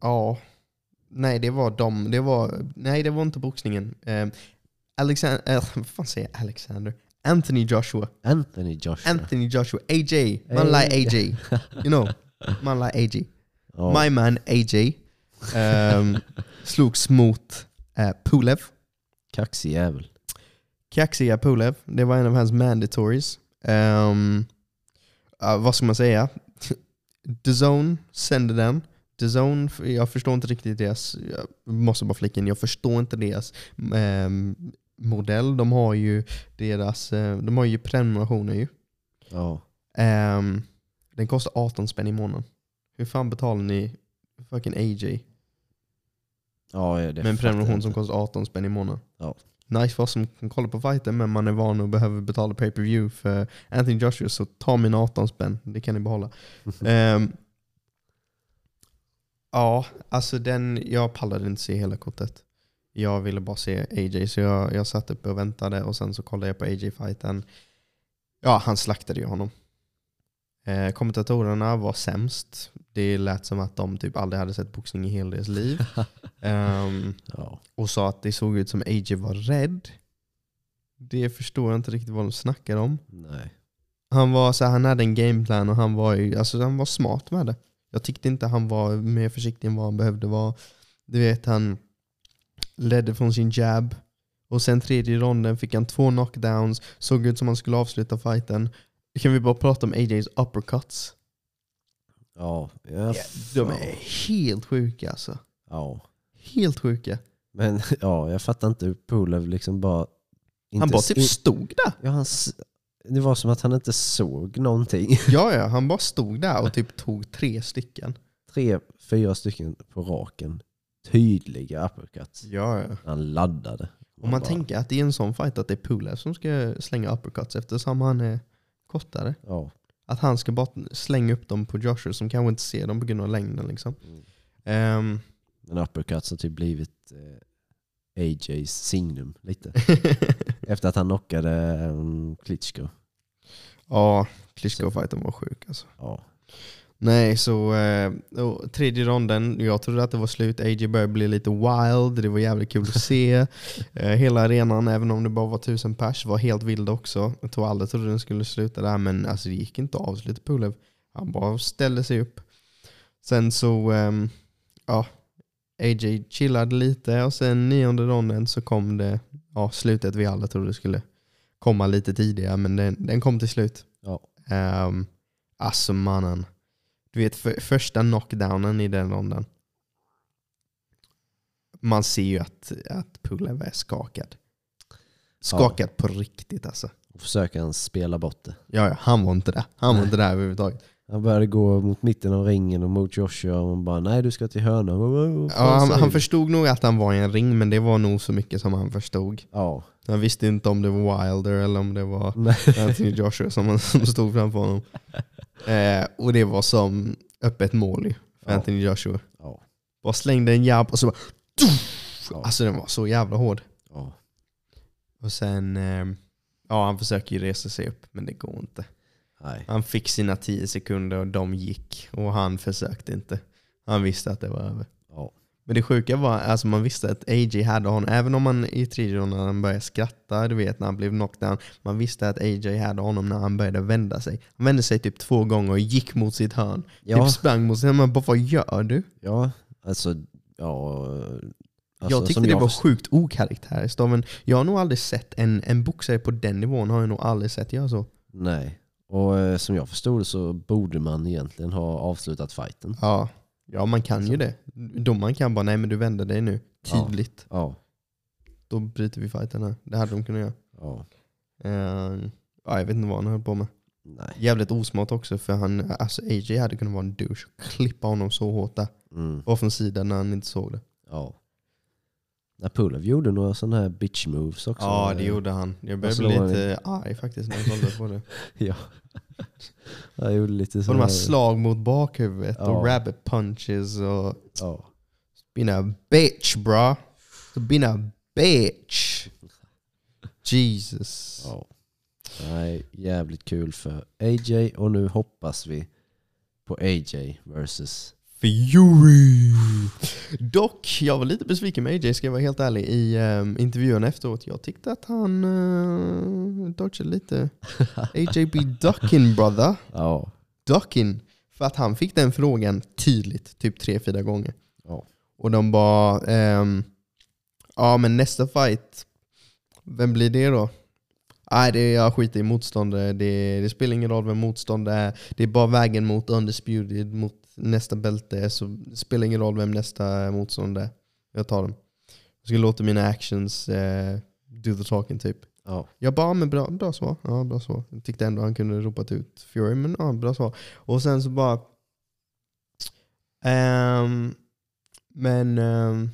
ja. Nej, det var de. Det var, nej, det var inte boxningen. Alexander, vad fan säger jag? Alexander? Anthony Joshua.
Anthony Joshua.
Anthony Joshua. AJ. Man like AJ. You know. Man like AJ.
Ja.
My man AJ. ehm, slogs mot eh, Pulev.
Kaxig jävel.
Kaxiga Pulev. Det var en av hans mandatories. Ehm, ja, vad ska man säga? *laughs* DAZN sände den. DAZN, f- jag förstår inte riktigt deras, jag måste bara flika in, jag förstår inte deras ehm, modell. De har ju deras, eh, de har ju prenumerationer ju.
Ja.
Ehm, den kostar 18 spänn i månaden. Hur fan betalar ni fucking AJ
Ja, det
med en
fattar jag
prenumeration
inte.
som kostar 18 spänn i månaden?
Ja.
nice för oss som kan kolla på fighten men man är van och behöver betala pay per view för Anthony Joshua så ta mina 18 spänn, det kan ni
*laughs*
behålla. Ehm, ja, alltså den, jag pallade inte se hela kortet. Jag ville bara se AJ så jag, jag satt uppe och väntade och sen så kollade jag på AJ-fighten. Ja, han slaktade ju honom. Eh, kommentatorerna var sämst. Det lät som att de typ aldrig hade sett boxning i hela deras
*laughs*
liv. Ehm,
Ja.
och sa att det såg ut som AJ var rädd. Det förstår jag inte riktigt vad de snackar om.
Nej.
Han, var så här, han hade en gameplan och han var, ju- alltså, han var smart med det. Jag tyckte inte han var mer försiktig än vad han behövde vara. Du vet, han ledde från sin jab. Och sen tredje ronden fick han två knockdowns, såg ut som han skulle avsluta fighten. Kan vi bara prata om AJs uppercuts?
Ja. Ja.
De
fan.
är helt sjuka alltså.
ja.
Helt sjuka.
Men *laughs* ja, jag fattar inte hur Pulev liksom bara...
Han bara
i-
typ stod där.
ja, han, s- det var som att han inte såg någonting. *laughs*
Ja, ja, han bara stod där och typ tog tre stycken.
Tre, fyra stycken på raken. Tydliga uppercuts.
Ja, ja.
Han laddade.
Mm. Om man
bara,
tänker att det är en sån fight att det är Pulev som ska slänga uppercuts eftersom han är kortare.
Ja.
Att han ska bara slänga upp dem på Joshua som kanske inte ser dem på grund av längden. Liksom. Ehm,
Men uppercuts har typ blivit eh, AJs signum
*laughs*
lite. Efter att han knockade um, Klitschko.
ja, Klitschko-fighten var sjuk alltså.
Ja.
Nej, så eh, och tredje ronden, jag trodde att det var slut. AJ började bli lite wild, det var jävligt kul att se. Eh, hela arenan, även om det bara var tusen pers, var helt vild också. Jag tror alla trodde den skulle sluta där, men alltså, det gick inte att avsluta Pulev. Han bara ställde sig upp. Sen så, ehm, ja, AJ chillade lite och sen nionde ronden så kom det, ja, slutet vi alla trodde skulle komma lite tidigare, men den, den kom till slut.
Ja.
Um, alltså mannen. Du vet för, första knockdownen i den ronden. Man ser ju att, att Pulev är skakad. Skakad på riktigt alltså.
Och försöker han spela bort det.
Ja, ja, han var inte där. Han var inte där överhuvudtaget.
Han började gå mot mitten av ringen och mot Joshua och man bara nej du ska till hörnan. Vad- vad- vad fan
Ja, han,
säger
han
du?
förstod nog att han var i en ring, men det var nog så mycket som han förstod.
Ja.
Han visste inte om det var Wilder eller om det var *laughs* Anthony Joshua som, han, som stod framför honom. *laughs* Eh, och det var som öppet mål ju för
Ja.
Anthony Joshua.
Ja.
Bara slängde en jab och så bara...
Ja.
Alltså den var så jävla hård.
ja.
Och sen, ehm, ja han försöker ju resa sig upp men det går inte.
Nej.
Han fick sina 10 sekunder och de gick. Och han försökte inte. Han visste att det var över.
Ja.
Men det sjuka var, alltså man visste att AJ hade honom. Även om man i tredje rundan började skratta, du vet när han blev knocked down. Man visste att AJ hade honom när han började vända sig. Han vände sig typ två gånger och gick mot sitt hörn.
Ja.
Typ sprang mot sitt hörn. Man bara, vad gör du?
ja, alltså... Ja, alltså
jag tyckte
som
det var
först-
sjukt okaraktäriskt av en... Jag har nog aldrig sett en, en boxare på den nivån, har jag nog aldrig sett göra så.
Nej. Och eh, som jag förstod det så borde man egentligen ha avslutat fighten.
Ja, ja man kan ju det. Domaren kan bara, nej men du vänder dig nu.
Ja.
Tydligt.
Ja.
Då bryter vi fighten här. Det hade de kunnat göra.
ja.
Eh, ja, jag vet inte vad han höll på med.
Nej.
Jävligt osmart också för han, alltså AJ hade kunnat vara en douche och klippa honom så hårt där.
Mm.
Bara från sidan när han inte såg det.
Ja. När Pulev gjorde några sådana här bitch moves också.
Ja, det
Eh,
gjorde han. Jag
Vad
började bli
slår han
lite arg faktiskt när jag kollade *laughs* på det.
*laughs* Ja. Jag gjorde lite
Och
så
de här
här.
slag mot bakhuvudet och
Ja.
rabbit punches och
Ja.
been a bitch bra. Been a bitch. Jesus.
ja. Nej, jävligt kul för AJ och nu hoppas vi på AJ versus...
Fury! Dock, jag var lite besviken med AJ ska jag vara helt ärlig i ehm, intervjun efteråt. Jag tyckte att han uh, dodgade lite. AJ be ducking brother.
Ja.
Ducking. För att han fick den frågan tydligt, typ tre, fyra gånger.
Ja.
Och de bara, ehm, ja men nästa fight, vem blir det då? Nej, det, jag skiter i motståndare. Det, det spelar ingen roll vem motståndare är. Det är bara vägen mot undisputed, mot nästa bälte. Så det spelar ingen roll vem nästa motståndare är. Jag tar dem. Jag ska låta mina actions eh, do the talking typ.
Ja.
Jag bara, ja, men bra, bra svar. Ja, bra svar. Jag tyckte ändå han kunde ropat ut Fury, men ja, bra svar. Och sen så bara... Ehm, men... ehm,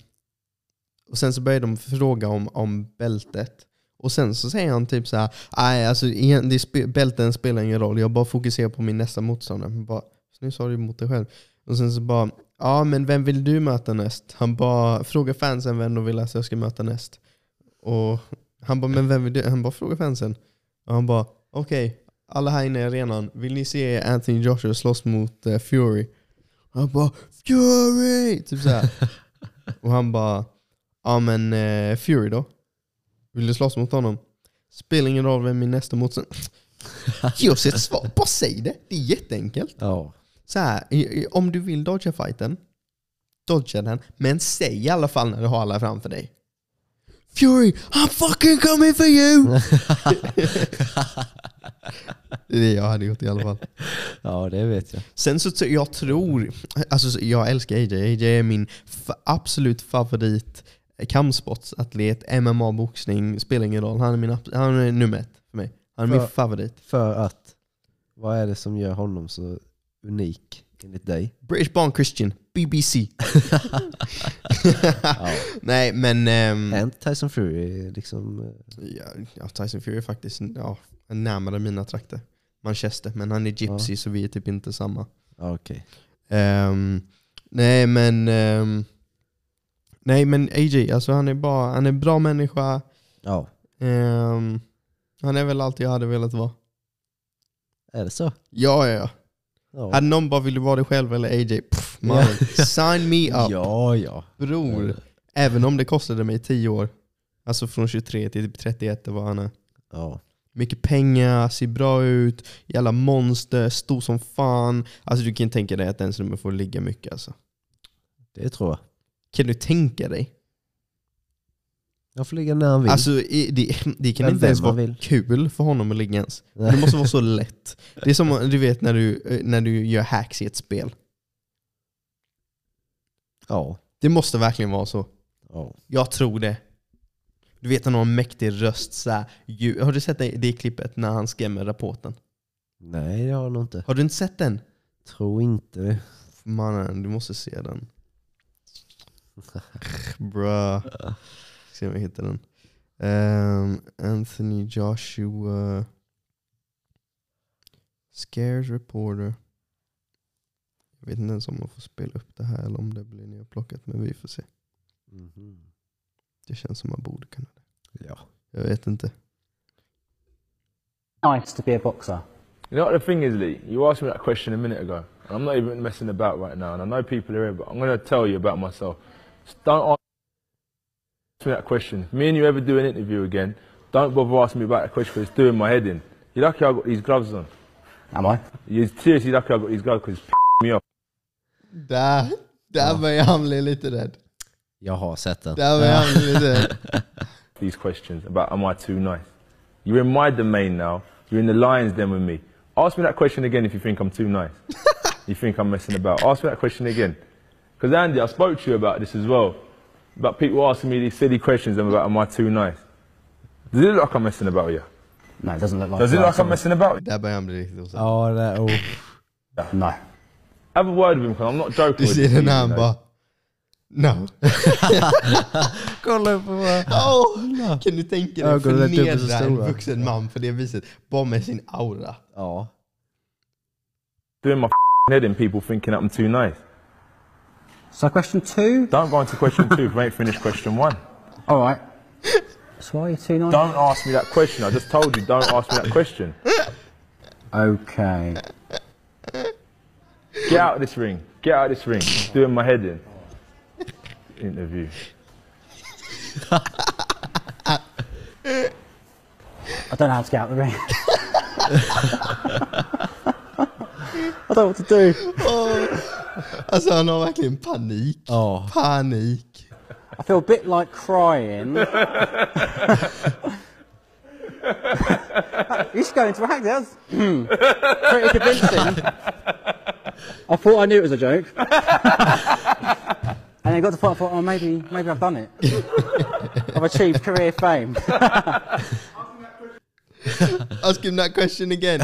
och sen så började de fråga om, om bältet. Och sen så säger han typ så här, nej alltså igen, det spe, bälten spelar ingen roll, jag bara fokuserar på min nästa motståndare. Men Bara, så nu sa du emot dig själv. Och sen så bara, ja men vem vill du möta näst? Han bara, fråga fansen vem de vill att jag ska möta näst. Och han bara, men vem vill du? Han bara, fråga fansen. Och han bara, okej, alla här inne i arenan, vill ni se Anthony Joshua slåss mot eh, Fury? Och han bara, Fury! Typ så här. Och han bara, ja men eh, Fury då? Vill du slåss mot honom? Spelar ingen roll vem min nästa motståndare... Ge oss ett svar, bara säg det. Det är jätteenkelt.
Ja.
Så här, i- i- om du vill dodga fighten, dodga den, men säg i alla fall när du har alla framför dig. Fury, I'm fucking coming for you! det är det jag hade gjort i alla fall.
Ja, det vet jag.
Sen så t- jag tror, alltså så- jag älskar AJ. AJ är min f- absolut favorit kampsportsatlet, MMA, boxning, spelar ingen roll. Han är, min, abs- han är nummer ett för mig. Han är min
För-
favorit.
För att, vad är det som gör honom så unik enligt dig?
British Born Christian, BBC. Nej men... ehm,
Är inte Tyson Fury liksom... eh,
Ja, ja, Tyson Fury är faktiskt ja, närmare mina trakter. Manchester, men han är gypsy så vi är typ inte samma.
Ja, okej.
Ehm, nej men ehm, Nej men AJ, alltså han är bara, han är en bra människa.
Ja,
Ehm, han är väl allt jag hade velat vara.
är det så?
Ja ja ja.
Ja,
Hade någon bara vill du vara dig själv eller AJ? Pff, man, sign
*laughs*
me up.
ja. ja.
Bror. Även om det kostade mig 10 år. Alltså från 23 till typ 31 det var han är.
ja.
Mycket pengar, ser bra ut, jävla monster, stor som fan. Alltså du kan tänka dig att ens nummer får ligga mycket alltså.
Det tror jag.
Kan du tänka dig?
Han får ligga när han vill.
Alltså i- det, *laughs* det kan
Vem-
inte ens
vem man
vara
vill.
kul för honom att ligga ens. Det måste vara
*laughs*
så lätt. Det är som du vet när du, eh, när du gör hacks i ett spel.
ja.
Det måste verkligen vara så.
ja.
Jag tror det. Du vet han har en mäktig röst så här, ju- Har du sett det, det klippet när han skrämmer rapporten?
Nej, det har han nog inte.
Har du inte sett den?
Tror inte det.
Mannen, du måste se den. *laughs* Bruh. Se om jag hittar den. Ehm, Anthony Joshua. Scares reporter. Jag vet inte ens om man får spela upp det här eller om det blir nerplockat, men vi får se.
Mhm.
Det känns som man borde kunna det.
Ja.
Jag vet inte.
nice to be a boxer. You know what the thing is, Lee? You asked me that question a minute ago. And I'm not even messing about right now. And I know people are here, but I'm going to tell you about myself. Just don't ask me that question. If me and you ever do an interview again, don't bother asking me about that question because it's doing my head in. You're lucky I got these gloves on.
Am I?
You're seriously lucky I got these gloves because it's me off.
Där, där börjar han bli lite rädd.
Jag har sett den.
Där börjar han bli lite rädd.
these questions about am I too nice? You're in my domain now. You're in the lion's den with me. Ask me that question again if you think I'm too nice. you think I'm messing about. Ask me that question again. Because Andy, I spoke to you about this as well. About people asking me these silly questions about am I too nice? Does it look like I'm messing about you?
No, it doesn't look like
Does it
that.
look like I'm messing about
*laughs*
you?
Där börjar han bli riktigt osäker.
Ja, det är... Oh.
No.
Have a word with him because I'm not joking.
Du
with
ser
you,
den här, han
you know.
bara... No.
Kolla upp på
Åh, Kan du tänka dig
Ögonen är dubbelt så
förnedra en
stora.
vuxen man på det viset? Bara med sin aura.
Ja.
Doing my head in people thinking I'm too nice.
So question two.
Don't go into question two. 'cause We ain't finished question one.
All right. So why are you too nice?
Don't ask me that question. I just told you, don't ask me that question.
Okay.
Get out of this ring. Get out of this ring. It's doing my head in. Interview.
I don't know how to get out of the ring. *laughs* I don't know what to do.
Alltså han har verkligen panik.
Ja.
Panik.
I feel a bit like crying. you should go into acting. That was pretty convincing. I thought I knew it was a joke. and I got to the point I thought, oh, maybe, maybe I've done it. I've achieved career fame.
Ask him that question
*laughs*
again.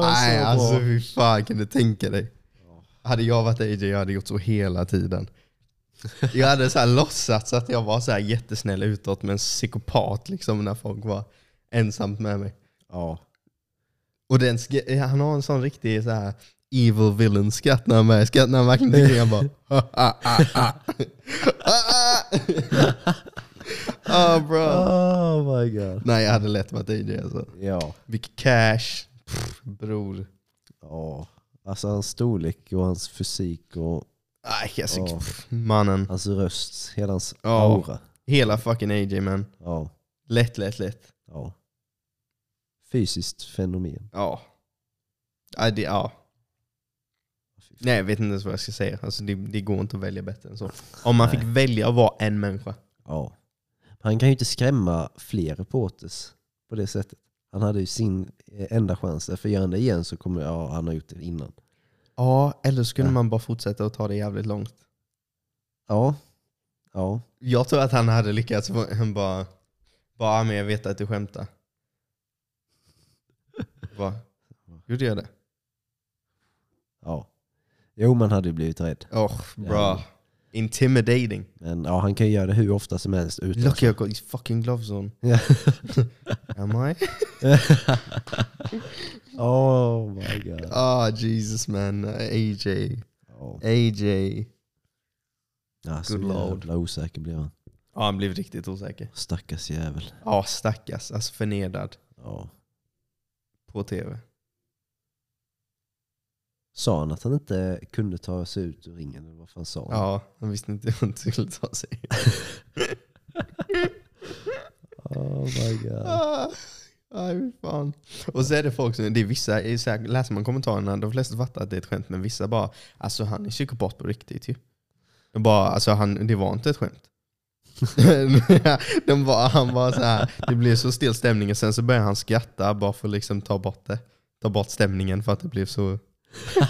Nej, alltså fy fan kan du tänka dig? Hade jag varit AJ, jag hade gjort så hela tiden. Jag hade så här låtsats att jag var så här jättesnäll utåt, men psykopat liksom när folk var ensamt med mig.
Ja.
Och den sk- eh, han har en sån riktig så här evil villain skratt när han är skratt när han verkligen tänker han bara *laughs* ah, "Ha, ha, ha, *laughs* ha." Ah, ah. oh, bro.
Oh my god.
Nej jag hade lätt varit AJ alltså.
Ja.
Vilket cash. Pff, bror.
Ja. Alltså hans storlek och hans fysik och
Nej, alltså,
Ja.
pff, mannen.
hans röst. Hela hans
Ja.
aura.
Hela fucking AJ man.
Ja.
Lätt, lätt, lätt.
Ja. Fysiskt fenomen.
Ja. Nej, det, ja. Nej, jag vet inte ens vad jag ska säga. Alltså, det, det går inte att välja bättre än så. Om man
Nej.
fick välja att vara en människa.
Ja. Han kan ju inte skrämma fler reporters på det sättet. Han hade ju sin eh, enda chans. För gör han det igen så kommer ja, han ha gjort det innan.
Ja, eller så kunde
Ja.
man bara fortsätta att ta det jävligt långt.
Ja. Ja.
Jag tror att han hade lyckats. Han bara, bara men jag vet att du skämtar. Va? Gjorde jag det?
Ja. Jo, man hade ju blivit rädd.
Oh, bra.
Ja.
Intimidating.
Men ja, han kan ju göra det hur ofta som helst. Utan
Look I got these fucking gloves on.
Ja. *laughs*
Am *laughs* I?
oh my god.
Ah Jesus man. AJ.
Ja.
AJ.
Ja, så
Good lord.
jävla osäker blev han.
Ja, han blev riktigt osäker.
Stackars jävel.
Ja, stackars. Alltså förnedrad
Ja.
på tv.
Sa han att han inte kunde ta sig ut ur ringen? Eller vad fan sa han?
Ja, han visste inte hur han skulle ta sig.
Oh my god.
Ah, Nej, fy fan. Och så är det folk som, det är vissa, det är så här, läser man kommentarerna, de flesta fattar att det är ett skämt, men vissa bara, alltså han är psykopat på riktigt ju. De bara, alltså han, det var inte ett skämt. *laughs* de bara, han bara så här, det blev så stel stämning och sen så börjar han skratta bara för att liksom ta bort det. Ta bort stämningen för att det blev så...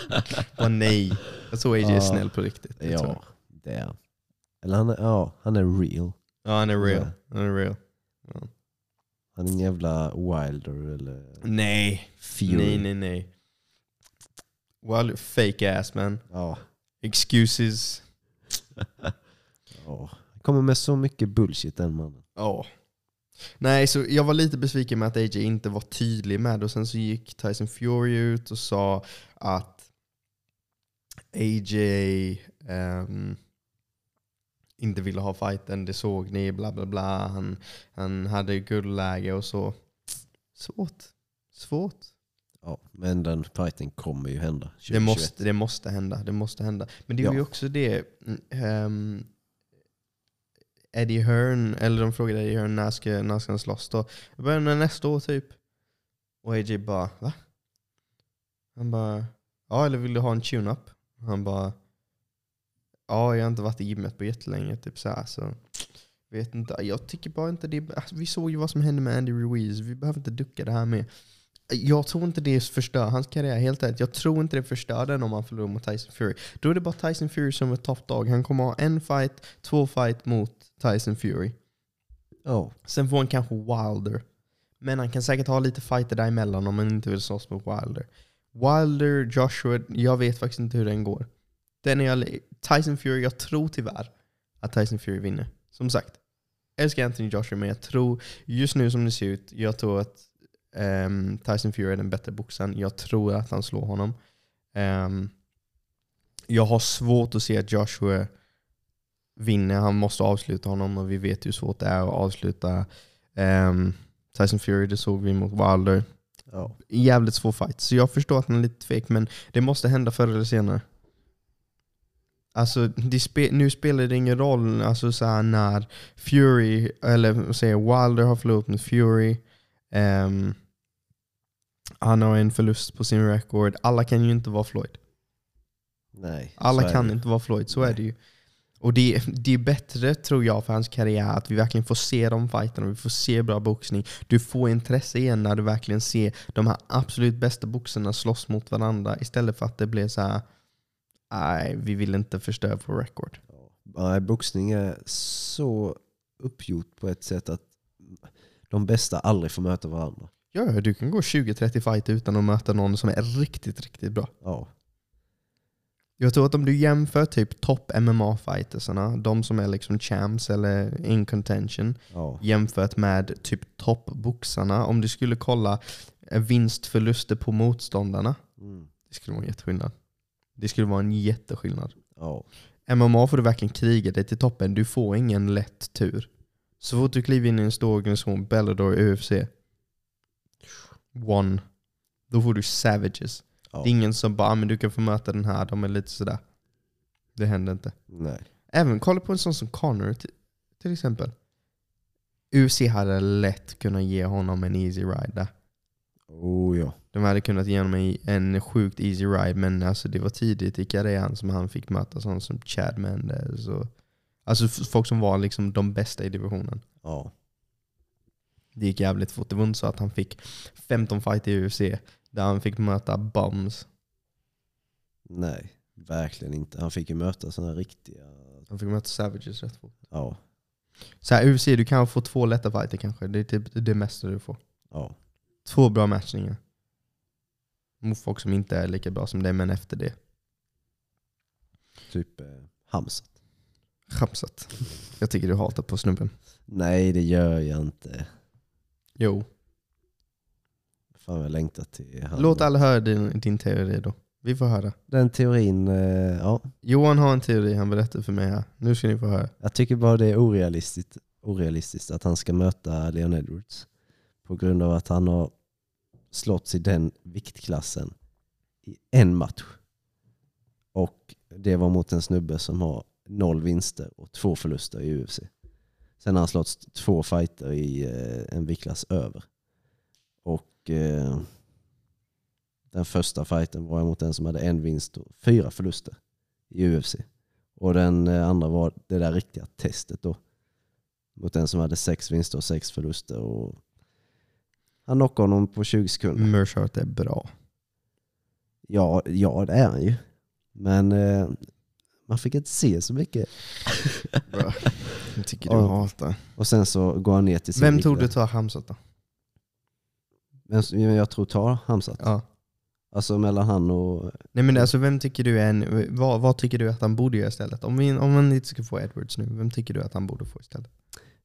*laughs* bara nej. Jag tror AJ är
Ja.
snäll på riktigt. det tror jag.
Ja, det är han. Eller han är, ja, han är real.
ja, han är real.
Ja.
Han är real.
Han är en jävla wilder eller
Nej.
fury.
Nej, nej, nej. Well, fake ass man.
Ja,
Excuses.
ja. Han kommer med så mycket bullshit den mannen.
Ja. Nej, så jag var lite besviken med att AJ inte var tydlig med det. och sen så gick Tyson Fury ut och sa att AJ ehm, inte ville ha fighten, det såg ni, bla bla bla. Han, han hade guldläge och så. Svårt. Svårt.
Ja, men den fighten kommer ju hända. 2021.
Det måste, det måste hända. Det måste hända. Men det är
Ja.
ju också det... ehm, Eddie Hearn, eller de frågade Eddie Hearn när ska, när ska han slåss då? Jag börjar med nästa år typ. Och AJ bara va? Han bara ja eller vill du ha en tune-up? Han bara ja jag har inte varit i gymmet på jättelänge typ så här, så vet inte. Jag tycker bara inte det. Alltså, vi såg ju vad som hände med Andy Ruiz. Vi behöver inte ducka det här med. Jag tror inte det förstör hans karriär helt ärligt. Jag tror inte det förstör den om han förlorar mot Tyson Fury. Då är det bara Tyson Fury som är topp dag. Han kommer ha en fight, två fight mot Tyson Fury.
Ja,
Sen får han kanske Wilder. Men han kan säkert ha lite fighter däremellan om han inte vill slåss mot Wilder. Wilder, Joshua, jag vet faktiskt inte hur den går. Den är jag, li- Tyson Fury, jag tror tyvärr att Tyson Fury vinner. Som sagt, älskar Anthony Joshua men jag tror, just nu som det ser ut, jag tror att ehm, Tyson Fury är den bättre boxaren. Jag tror att han slår honom. Ehm, jag har svårt att se att Joshua vinner. Han måste avsluta honom och vi vet hur svårt det är att avsluta ehm, Tyson Fury. Det såg vi mot Wilder.
ja.
Jävligt svår fight. Så jag förstår att han är lite tvek, men det måste hända förr eller senare. Alltså, det spe nu spelar det ingen roll alltså, så här, när Fury, eller säger Wilder har förlorat mot Fury. Ehm, han har en förlust på sin record. Alla kan ju inte vara Floyd.
Nej.
Alla
så är
kan
det.
inte vara Floyd, så är det ju. Och det, det är bättre, tror jag, för hans karriär att vi verkligen får se de fighterna, vi får se bra boxning. Du får intresse igen när du verkligen ser de här absolut bästa boxarna slåss mot varandra istället för att det blir så här. nej, vi vill inte förstöra vår record.
Nej, boxning är så uppgjort på ett sätt att de bästa aldrig får möta varandra.
Ja, ja, du kan gå 20-30 fighter utan att möta någon som är riktigt, riktigt bra.
Ja,
Jag tror att om du jämför typ topp MMA-fightersarna, de som är liksom champs eller in contention,
ja,
jämfört med typ toppboxarna. Om du skulle kolla eh, vinstförluster på motståndarna,
mm,
det skulle vara en jätteskillnad. Det skulle vara en jätteskillnad.
ja,
MMA får du verkligen kriga dig till toppen. Du får ingen lätt tur. Så fort du kliver in i en stor organisation, Bellador, UFC, one, då får du savages.
Ja.
Det är ingen som bara, "Ah, men du kan få möta den här, de är lite sådär. Det händer inte.
nej.
Även kolla på en sån som Connor t- till exempel. UFC hade lätt kunnat ge honom en easy ride där.
Oh ja.
De hade kunnat ge honom en- en sjukt easy ride men alltså det var tidigt i karriären som han fick möta sådana som Chad Mendes och alltså f- folk som var liksom de bästa i divisionen.
ja.
Det gick jävligt fort. Det var inte så att han fick 15 fighter i UFC där han fick möta bums.
Nej, verkligen inte. Han fick ju möta sådana riktiga...
Han fick möta savages rätt fort.
Ja,
Så här, UFC, du kan få två lätta fighter kanske. Det är typ det mesta du får.
ja,
Två bra matchningar. Mot folk som inte är lika bra som dig, men efter det.
typ eh, Hamsat.
Chapsat. Jag tycker du hatar på snubben.
Nej, det gör jag inte.
Jo.
Fan jag längtar till han.
Låt alla höra din, din teori då. Vi får höra.
Den teorin, eh, ja.
Johan har en teori han berättar för mig här. Nu ska ni få höra.
Jag tycker bara det är orealistiskt, orealistiskt att han ska möta Leon Edwards. På grund av att han har slåtts i den viktklassen i en match. Och det var mot en snubbe som har noll vinster och två förluster i UFC. Sen har han slått två fighter i eh, en viktklass över. Och eh, den första fighten var mot en som hade en vinst och fyra förluster i UFC. Och den eh, andra var det där riktiga testet då. Mot den som hade sex vinster och sex förluster. Och han knockade honom på 20 sekunder.
Mershart är bra.
Ja, ja det är han ju. Men eh, man fick inte se så mycket.
Jag tycker
Ja.
hatar.
Och sen så går han ner till sin
Vem tog du
viktklass.
tar Hamsat då?
Vem som- jag tror tar Hamzat.
Ja.
Alltså mellan han och...
Nej men alltså vem tycker du är en, vad, vad tycker du att han borde göra istället? Om, vi, om man inte ska få Edwards nu, vem tycker du att han borde få istället?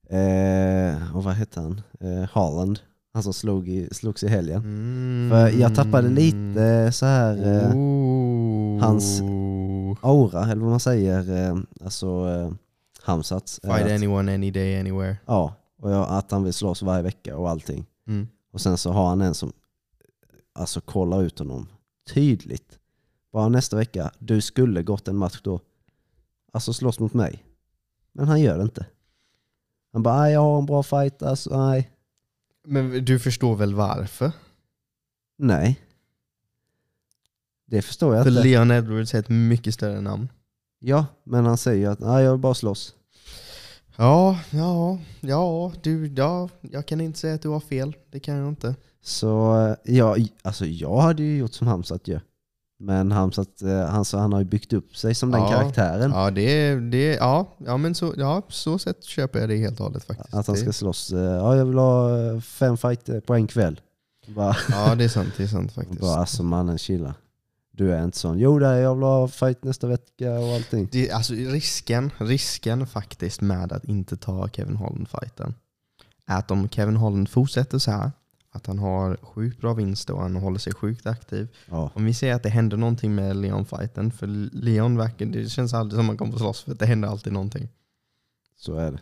Eh, och vad hette han? Eh, Haaland. Han som slog i, slogs i helgen.
Mm. Oh.
För jag tappade lite så här... Eh,
Mm.
hans- aura, eller vad man säger, eh, alltså eh, Hamsats. eh,
Fight
att-
anyone, any day, anywhere.
Ja, och jag, att han vill slåss varje vecka och allting.
Mm.
Och sen så har han en som alltså kollar ut honom tydligt. Bara nästa vecka, du skulle gått en match då. Alltså slåss mot mig. Men han gör det inte. Han bara, nej jag har en bra fight, alltså nej.
Men du förstår väl varför?
Nej. Det förstår jag
För
inte.
Leon Edwards är ett mycket större namn.
Ja, men han säger ju att nej jag vill bara slåss.
Ja, ja, ja, du, ja, jag kan inte säga att du har fel. Det kan jag inte.
Så eh, ja, i- alltså jag hade ju gjort som Hamsat ju. Men Hamsat, eh, han, så han har ju byggt upp sig som den
Ja.
karaktären.
Ja, det, det, ja, ja men så, ja, så sätt köper jag det helt och hållet faktiskt.
Att han ska
det,
slåss. eh, Ja, jag vill ha eh, fem fighter på en kväll. Bara,
ja, det är sant, det är sant faktiskt.
bara alltså mannen chilla. Du är inte sån. Jo, det är, jag vill ha fight nästa vecka och allting.
Det, alltså risken, risken faktiskt med att inte ta Kevin Holland-fighten är att om Kevin Holland fortsätter så här, att han har sjukt bra vinst och han håller sig sjukt aktiv.
Ja.
Om vi säger att det händer någonting med Leon-fighten, för Leon verkar, det känns aldrig som man kommer att slåss för att det händer alltid någonting.
Så är det.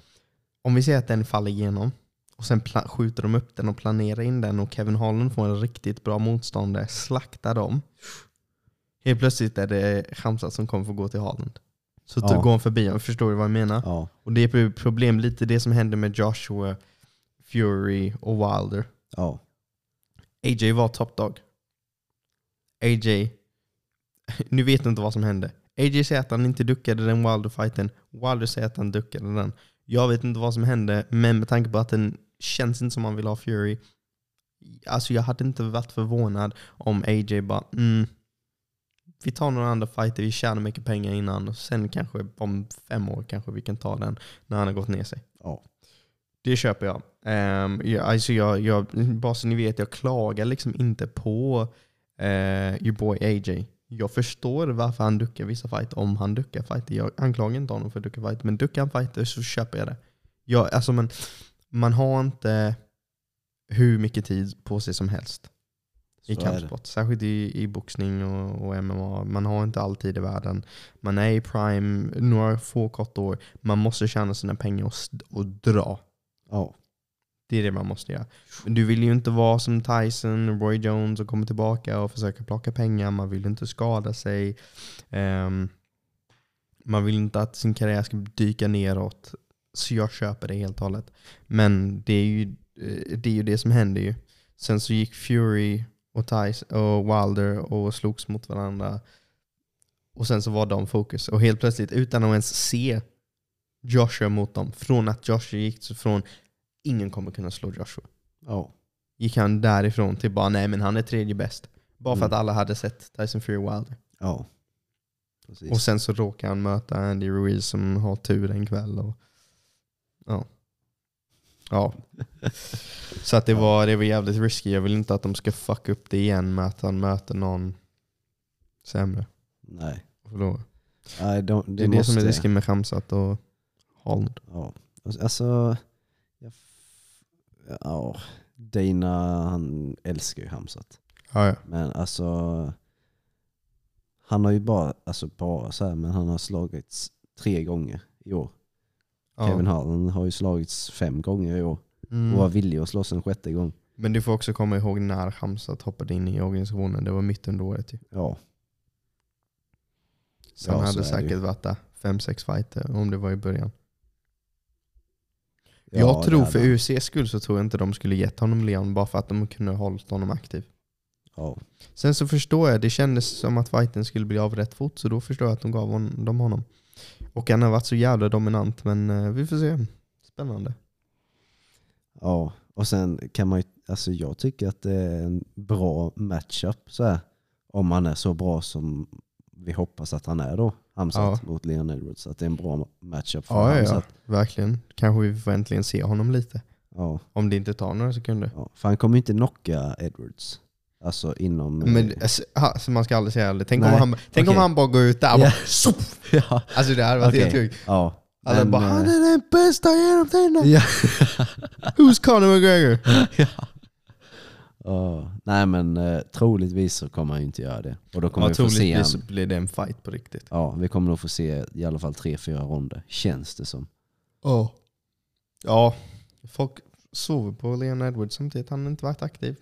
Om vi säger att den faller igenom och sen pla- skjuter de upp den och planerar in den och Kevin Holland får en riktigt bra motståndare, slaktar dem. Helt plötsligt är det Hamza som kommer få gå till Holland. Så
Ja.
ja. går han förbi honom, förstår du vad jag menar?
Ja.
Och det är ett problem, lite det som hände med Joshua, Fury och Wilder.
ja.
AJ var top dog. AJ, *laughs* nu vet jag inte vad som hände. AJ säger att han inte duckade den Wilder-fighten. Wilder säger att han duckade den. Jag vet inte vad som hände, men med tanke på att den känns inte som han vill ha Fury. Alltså jag hade inte varit förvånad om AJ bara mm, vi tar några andra fighter, vi tjänar mycket pengar innan och sen kanske om fem år kanske vi kan ta den när han har gått ner sig.
Ja.
Det köper jag. Um, jag, alltså jag, jag. Bara så ni vet, jag klagar liksom inte på uh, your boy AJ. Jag förstår varför han duckar vissa fighter om han duckar fighter. Jag anklagar inte honom för att ducka fighter, men duckar han fighter så köper jag det. Jag, alltså men, man har inte hur mycket tid på sig som helst
Så
i
är det.
kampsport. Särskilt i, i boxning och, och MMA. Man har inte all tid i världen. Man är i prime några få korta år. Man måste tjäna sina pengar och, s- och dra.
Ja.
Det är det man måste göra. Men du vill ju inte vara som Tyson, Roy Jones och komma tillbaka och försöka plocka pengar. Man vill inte skada sig. Ehm, man vill inte att sin karriär ska dyka neråt. Så jag köper det helt och hållet. Men det är ju, eh, det, är ju det som händer ju. Sen så gick Fury och, Tyson och Wilder och slogs mot varandra. Och sen så var de fokus. Och helt plötsligt, utan att ens se Joshua mot dem, från att Joshua gick så från ingen kommer kunna slå Joshua.
Ja.
Gick han därifrån till bara nej men han är tredje bäst. Bara för
Mm.
att alla hade sett Tyson Fury Wilder.
Ja. Precis.
Och sen så råkar han möta Andy Ruiz som har tur en kväll. Och, ja.
*laughs*
ja. Så att det, var, det var jävligt risky. Jag vill inte att de ska fucka upp det igen med att han möter någon sämre
Nej.
och förlorar.
Nej, de,
Det är det,
måste.
som är risken med Khamzat och Holland.
Ja. Alltså, jag, f- ja. Dana, han älskar ju Hamsat.
Ja, ja.
Men alltså, han har ju bara, alltså bara så här, men han har slagits tre gånger i år.
Ja.
Kevin Harlan har ju slagits fem gånger i år och var
Mm.
villig att slåss en sjätte gång.
Men du får också komma ihåg när Khamzat hoppade in i organisationen. Det var mitt under året ju.
Ja,
Så
Ja,
han
så
hade
är det ju.
säkert varit där fem, sex fighter om det var i början.
ja
jag tror
jävlar.
för UCs skull så tror jag inte de skulle gett honom Leon bara för att de kunde ha hållit honom aktiv.
Ja,
Sen så förstår jag, det kändes som att fighten skulle bli av rätt fort så då förstår jag att de gav hon, dem honom. Och han har varit så jävla dominant men eh, vi får se. Spännande.
ja, och sen kan man ju, alltså jag tycker att det är en bra matchup så här. Om han är så bra som vi hoppas att han är då, Hamzat mot Leon Edwards. Att det är en bra matchup för
Ja, ja, ja,
Hamzat.
verkligen. Kanske vi får äntligen se honom lite.
Ja.
Om det inte tar några sekunder.
Ja, för han kommer ju inte knocka Edwards. Alltså inom...
Men alltså, ha, så man ska aldrig säga aldrig. Tänk, om
Nej,
han, tänk om
okej.
han bara går ut där och
Ja.
bara, "Soff!"
*laughs* ja,
Alltså det hade varit
okej.
helt sjukt.
Ja.
Alla
men,
bara
eh,
han är den bästa genom tiderna.
Ja.
Who's Conor McGregor?
ja. nej men eh, troligtvis så kommer han ju inte göra det. Och då kommer
Ja,
vi få se
troligtvis
han,
blir det en fight på riktigt.
Ja, vi kommer nog få se i alla fall tre, fyra ronder. Känns det som.
Ja. Ja, folk sover på Leon Edwards samtidigt. Han har inte varit aktiv.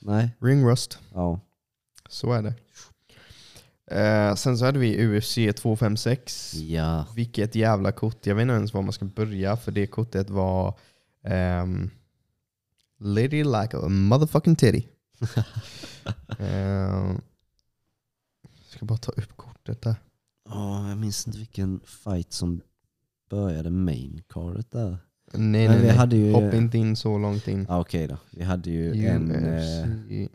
Nej.
Ring rust.
Ja.
Så är det. Eh, sen så hade vi UFC 256.
Ja.
Vilket jävla kort. Jag vet inte ens var man ska börja för det kortet var ehm, Lady like a motherfucking
*laughs*
titty. Ehm, jag ska bara ta upp kortet där.
Ja, jag minns inte vilken fight som började main cardet där.
Nej,
Men
nej,
vi
nej.
hade ju-
Hoppa inte in så långt in.
Ah, Okej då. Vi hade ju en... Eh,
UFC.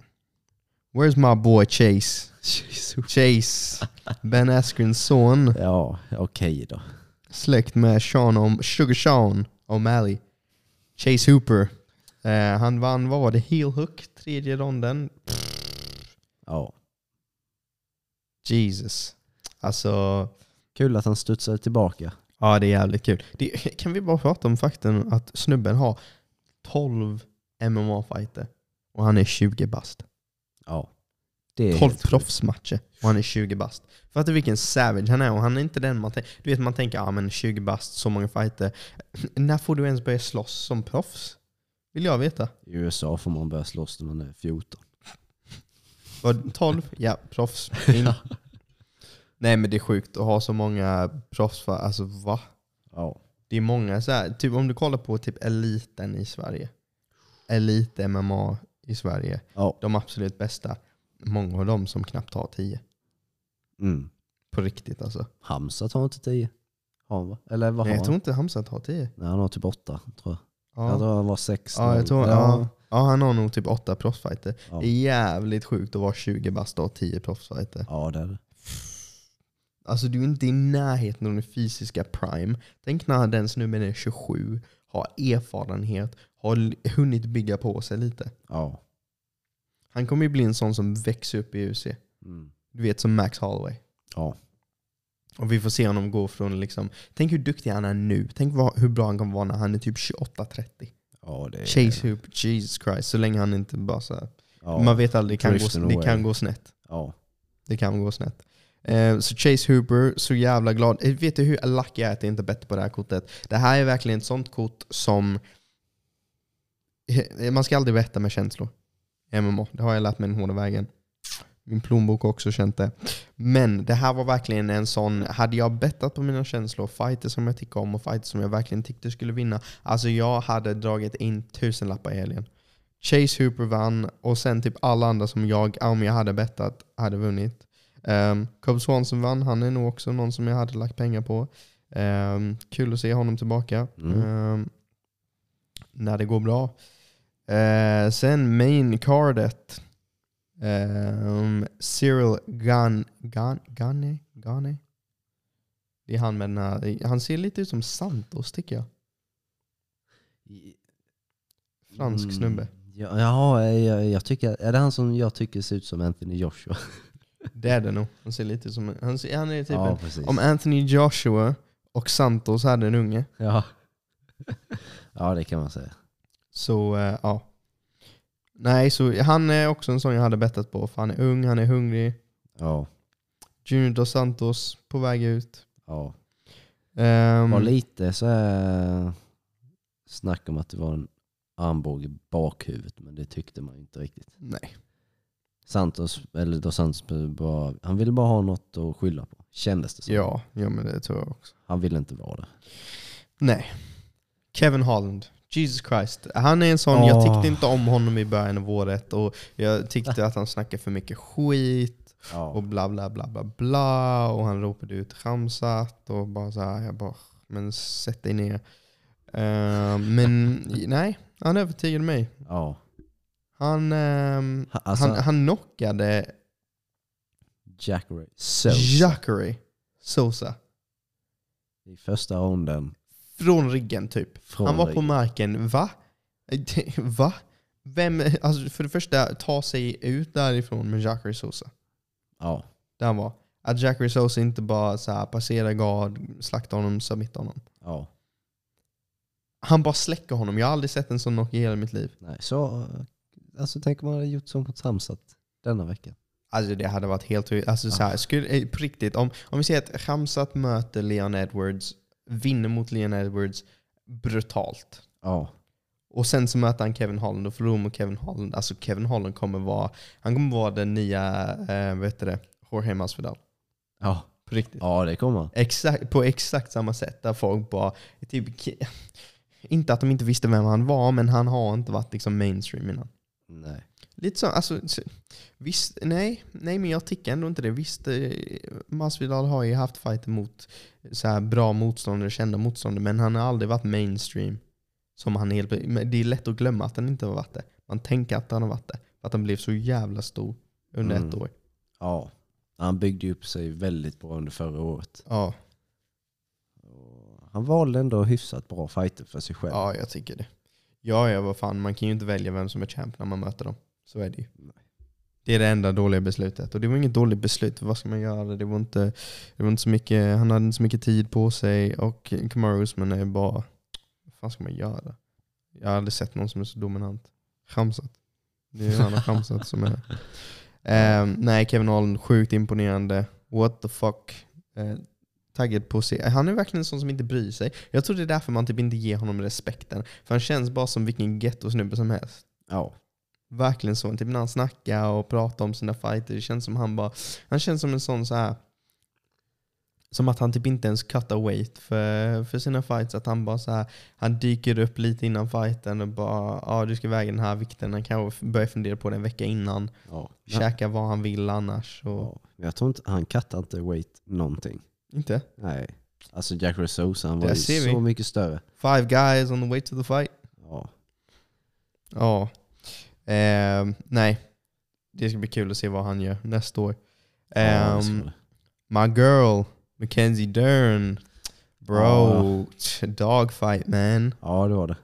Where's my boy Chase? Chase, Ben Askrens son,
ja, okej då.
släkt med Sean om Sugar Sean O'Malley. Chase Hooper. Eh, han vann, vad var det, heel hook, tredje ronden.
Ja.
Jesus. Alltså,
Kul att han studsade tillbaka.
ja det är jävligt kul. Det, *laughs* kan vi bara prata om fakten att snubben har 12 MMA-fighter och han är 20 bast.
Ja. Det är
12
helt sjukt.
proffsmatcher och han är 20 bast. Fattar du vilken savage han är? Och han är inte den man tänker. Du vet man tänker, ja ah, men 20 bast, så många fighter. När får du ens börja slåss som proffs? Vill jag veta.
I USA får man börja slåss när man är 14.
Var 12? Ja, proffs. In. Nej men det är sjukt att ha så många proffs. För, alltså va?
Ja.
Det är många så här, typ om du kollar på typ eliten i Sverige. Elit MMA i Sverige.
Ja.
De absolut bästa. Många av dem som knappt har 10.
Mm.
På riktigt alltså.
Hamza tar inte 10. Har han va? Eller vad
Nej,
har
jag
han?
tror inte Hamzat har 10.
Nej, han har typ 8 tror jag.
Ja.
Jag tror han var 6.
Ja, jag tror, ja. Ja. han har nog typ åtta proffsfighter.
Ja.
Det är jävligt sjukt att vara 20 bast och ha 10 proffsfighter.
Ja, det är det.
Alltså du är inte i närheten av den fysiska prime. Tänk när den snubben är 27, har erfarenhet, har l- hunnit bygga på sig lite.
Ja.
Han kommer ju bli en sån som växer upp i UFC.
Mm.
Du vet som Max Holloway.
Ja.
Och vi får se honom gå från liksom, tänk hur duktig han är nu. Tänk vad, hur bra han kommer vara när han är typ 28-30.
ja, det är...
Chase Hoop, Jesus Christ. Så länge han inte bara så här.
Ja.
Man vet aldrig, det kan,
Drifting
gå, det
away.
kan gå snett.
Ja.
Det kan gå snett. Eh, Så Chase Hooper, så jävla glad. Eh, Vet du hur lucky jag är att jag inte är bättre på det här kortet? Det här är verkligen ett sånt kort som... Eh, Man ska aldrig betta med känslor. i MMA. Det har jag lärt mig den hårda vägen. Min plånbok har också känt det. Men det här var verkligen en sån... Hade jag bettat på mina känslor, fighter som jag tycker om och fighter som jag verkligen tyckte skulle vinna. Alltså jag hade dragit in tusenlappar i helgen. Chase Hooper vann och sen typ alla andra som jag, om jag hade bettat, hade vunnit. Um, Cobb Swanson vann, han är nog också någon som jag hade lagt pengar på. Ehm, kul att se honom tillbaka.
Mm.
Ehm, när det går bra. Eh, sen main cardet. Ehm, Cyril Gan, Gan, Gane, Gane. Det är han med den här, han ser lite ut som Santos tycker jag. Fransk
Mm.
snubbe.
Ja, ja jag, jag tycker... Är det han som jag tycker ser ut som Anthony Joshua?
Det är det nog. Han ser lite ut som, han, ser, han är typ
ja,
en,
precis.
om Anthony Joshua och Santos hade en unge.
Ja. *laughs* ja, det kan man säga.
Så eh, ja. Nej, så han är också en sån jag hade bettat på. För han är ung, han är hungrig.
Ja.
Junior dos Santos på väg ut.
ja.
Ehm,
var lite så här snack om att det var en armbåge i bakhuvudet, men det tyckte man ju inte riktigt.
nej.
Santos, eller då Santos, bara, han ville bara ha något att skylla på, kändes det som.
Ja, ja, men det tror jag också.
Han ville inte vara det.
Nej. Kevin Holland. Jesus Christ. Han är en sån, jag
Åh.
tyckte inte om honom i början av året och jag tyckte att han snackade för mycket skit och
Ja.
bla bla bla bla bla och han ropade ut Ramsat och bara så här, jag bara, men sätt dig ner. Ehm, men
*laughs*
nej, han övertygade mig.
ja.
Han, ehm,
Ha- Alltså,
han, han knockade
Jack Ray. So,
Jackery Sosa
I första ronden.
från ryggen typ.
Från
han var på
ryggen.
marken. Va? *laughs* Va? Vem, alltså, för det första, ta sig ut därifrån med Jackery Sosa.
Ja.
Där han var. Att Jackery Sosa inte bara så här, passera guard, slakta honom, submitta honom.
ja.
Han bara släcker honom. Jag har aldrig sett en sån knock i hela mitt liv.
Nej, så, alltså tänk om man hade gjort som på Tramsat denna veckan.
Alltså det hade varit helt alltså, så här, skulle, eh, på riktigt. Om, om vi säger att Hamzat möter Leon Edwards, vinner mot Leon Edwards brutalt.
Ja.
Och sen så möter han Kevin Holland och förlorar mot Kevin Holland. Alltså Kevin Holland kommer vara, han kommer vara den nya, eh, vad heter det, Jorge Masvidal.
Ja.
På riktigt.
ja, det kommer han.
Exakt, på exakt samma sätt där folk bara, typ, k- inte att de inte visste vem han var, men han har inte varit liksom mainstream innan.
Nej.
Lite så, alltså, s- visst, nej, nej, men jag tycker ändå inte det. Visst, eh, Masvidal har ju haft fighter mot så här bra motståndare, kända motståndare, men han har aldrig varit mainstream. Som han helt, men det är lätt att glömma att han inte har varit det. Man tänker att han har varit det, för att han blev så jävla stor under
Mm.
ett år.
Ja. Han byggde ju upp sig väldigt bra under förra året.
Ja,
Och Han valde ändå hyfsat bra fighter för sig själv.
ja, jag tycker det. Ja, ja, vad fan, man kan ju inte välja vem som är champ när man möter dem. Så är det ju. Det är det enda dåliga beslutet. Och det var inget dåligt beslut, vad ska man göra? Det var inte, det var inte så mycket, han hade inte så mycket tid på sig och Kamaru Usman är bara, vad fan ska man göra? Jag har aldrig sett någon som är så dominant. Chamsat. Det är han och chamsat som är Ehm, Nej, Kevin Holland, sjukt imponerande. What the fuck. Eh, taggad på att se. Han är verkligen en sån som inte bryr sig. Jag tror det är därför man typ inte ger honom respekten. För han känns bara som vilken gettosnubbe som helst.
Ja.
Verkligen så. Typ när han snackar och pratar om sina fighter, det känns som han bara... Han känns som en sån så här Som att han typ inte ens cuttar weight för, för sina fights. Att han bara så här han dyker upp lite innan fighten och bara ja ah, du ska väga den här vikten. Han kanske f- börjar fundera på det en vecka innan.
ja.
Käka vad han vill annars. Och,
Ja. Men Jag tror inte, han kattar inte weight någonting.
Inte?
Nej. Alltså Jack Resosa, han var
Där
ju
ser vi.
så mycket större.
Five guys on the way to the fight.
Ja.
Ja. Ehm, nej. Det ska bli kul att se vad han gör nästa år.
Ja,
Ehm,
så-
My girl, Mackenzie Dern. Bro, dogfight man.
ja, det var det.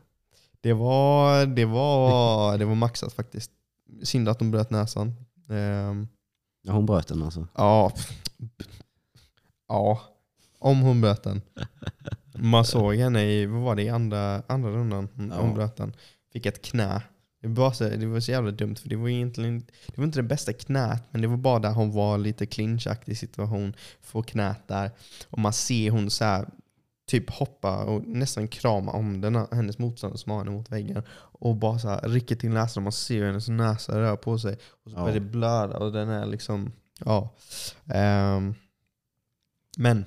Det var, det var, det var maxat faktiskt. Synd att de bröt näsan. Ehm,
Ja, hon bröt den alltså.
Ja. Ja. Om hon bröt den. Man såg henne i, vad var det, i andra, andra rundan. Hon,
Ja.
hon bröt den. Fick ett knä. Det var, bara så, det var så jävla dumt för det var egentligen det var inte det bästa knät men det var bara där hon var lite clinchaktig situation. Får knät där och man ser hon så här, typ hoppa och nästan krama om den, hennes motståndare som har henne mot väggen. Och bara så här, rycker till näsan och man ser hennes näsa röra på sig. Och så
Ja.
börjar det blöda och den är liksom, ja. Ehm, men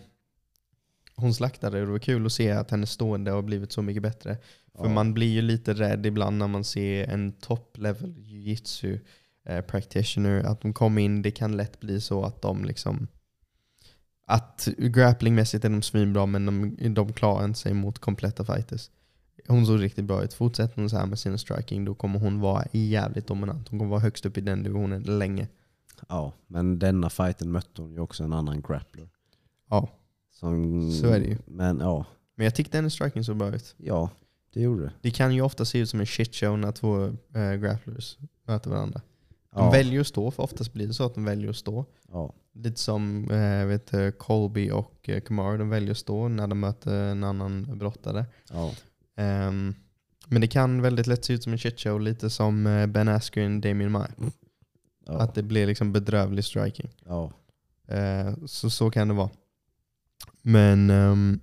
hon slaktade och det var kul att se att hennes stående har blivit så mycket bättre. För
Ja.
man blir ju lite rädd ibland när man ser en top level jiu-jitsu eh, practitioner. Att de kommer in, det kan lätt bli så att de liksom att grapplingmässigt är de svinbra men de, de klarar inte sig mot kompletta fighters. Hon såg riktigt bra ut. Fortsätter hon så här med sin striking då kommer hon vara jävligt dominant. Hon kommer vara högst upp i den divisionen länge.
Ja, men denna fighten mötte hon ju också en annan grappler.
Ja.
Som,
Så är det ju.
Men ja,
Men jag tyckte hennes striking såg bra ut.
ja, det gjorde det.
Det kan ju ofta se ut som en shitshow när två eh, grapplers möter varandra. De
Ja,
väljer att stå, för oftast blir det så att de väljer att stå.
ja,
Lite som eh, vet, du, Colby och eh, Kamaru, de väljer att stå när de möter en annan brottare.
ja,
Ehm, men det kan väldigt lätt se ut som en shitshow, lite som eh, Ben Askren, Damien Maya.
ja,
Att det blir liksom bedrövlig striking.
ja.
Eh, så, så kan det vara. Men ehm,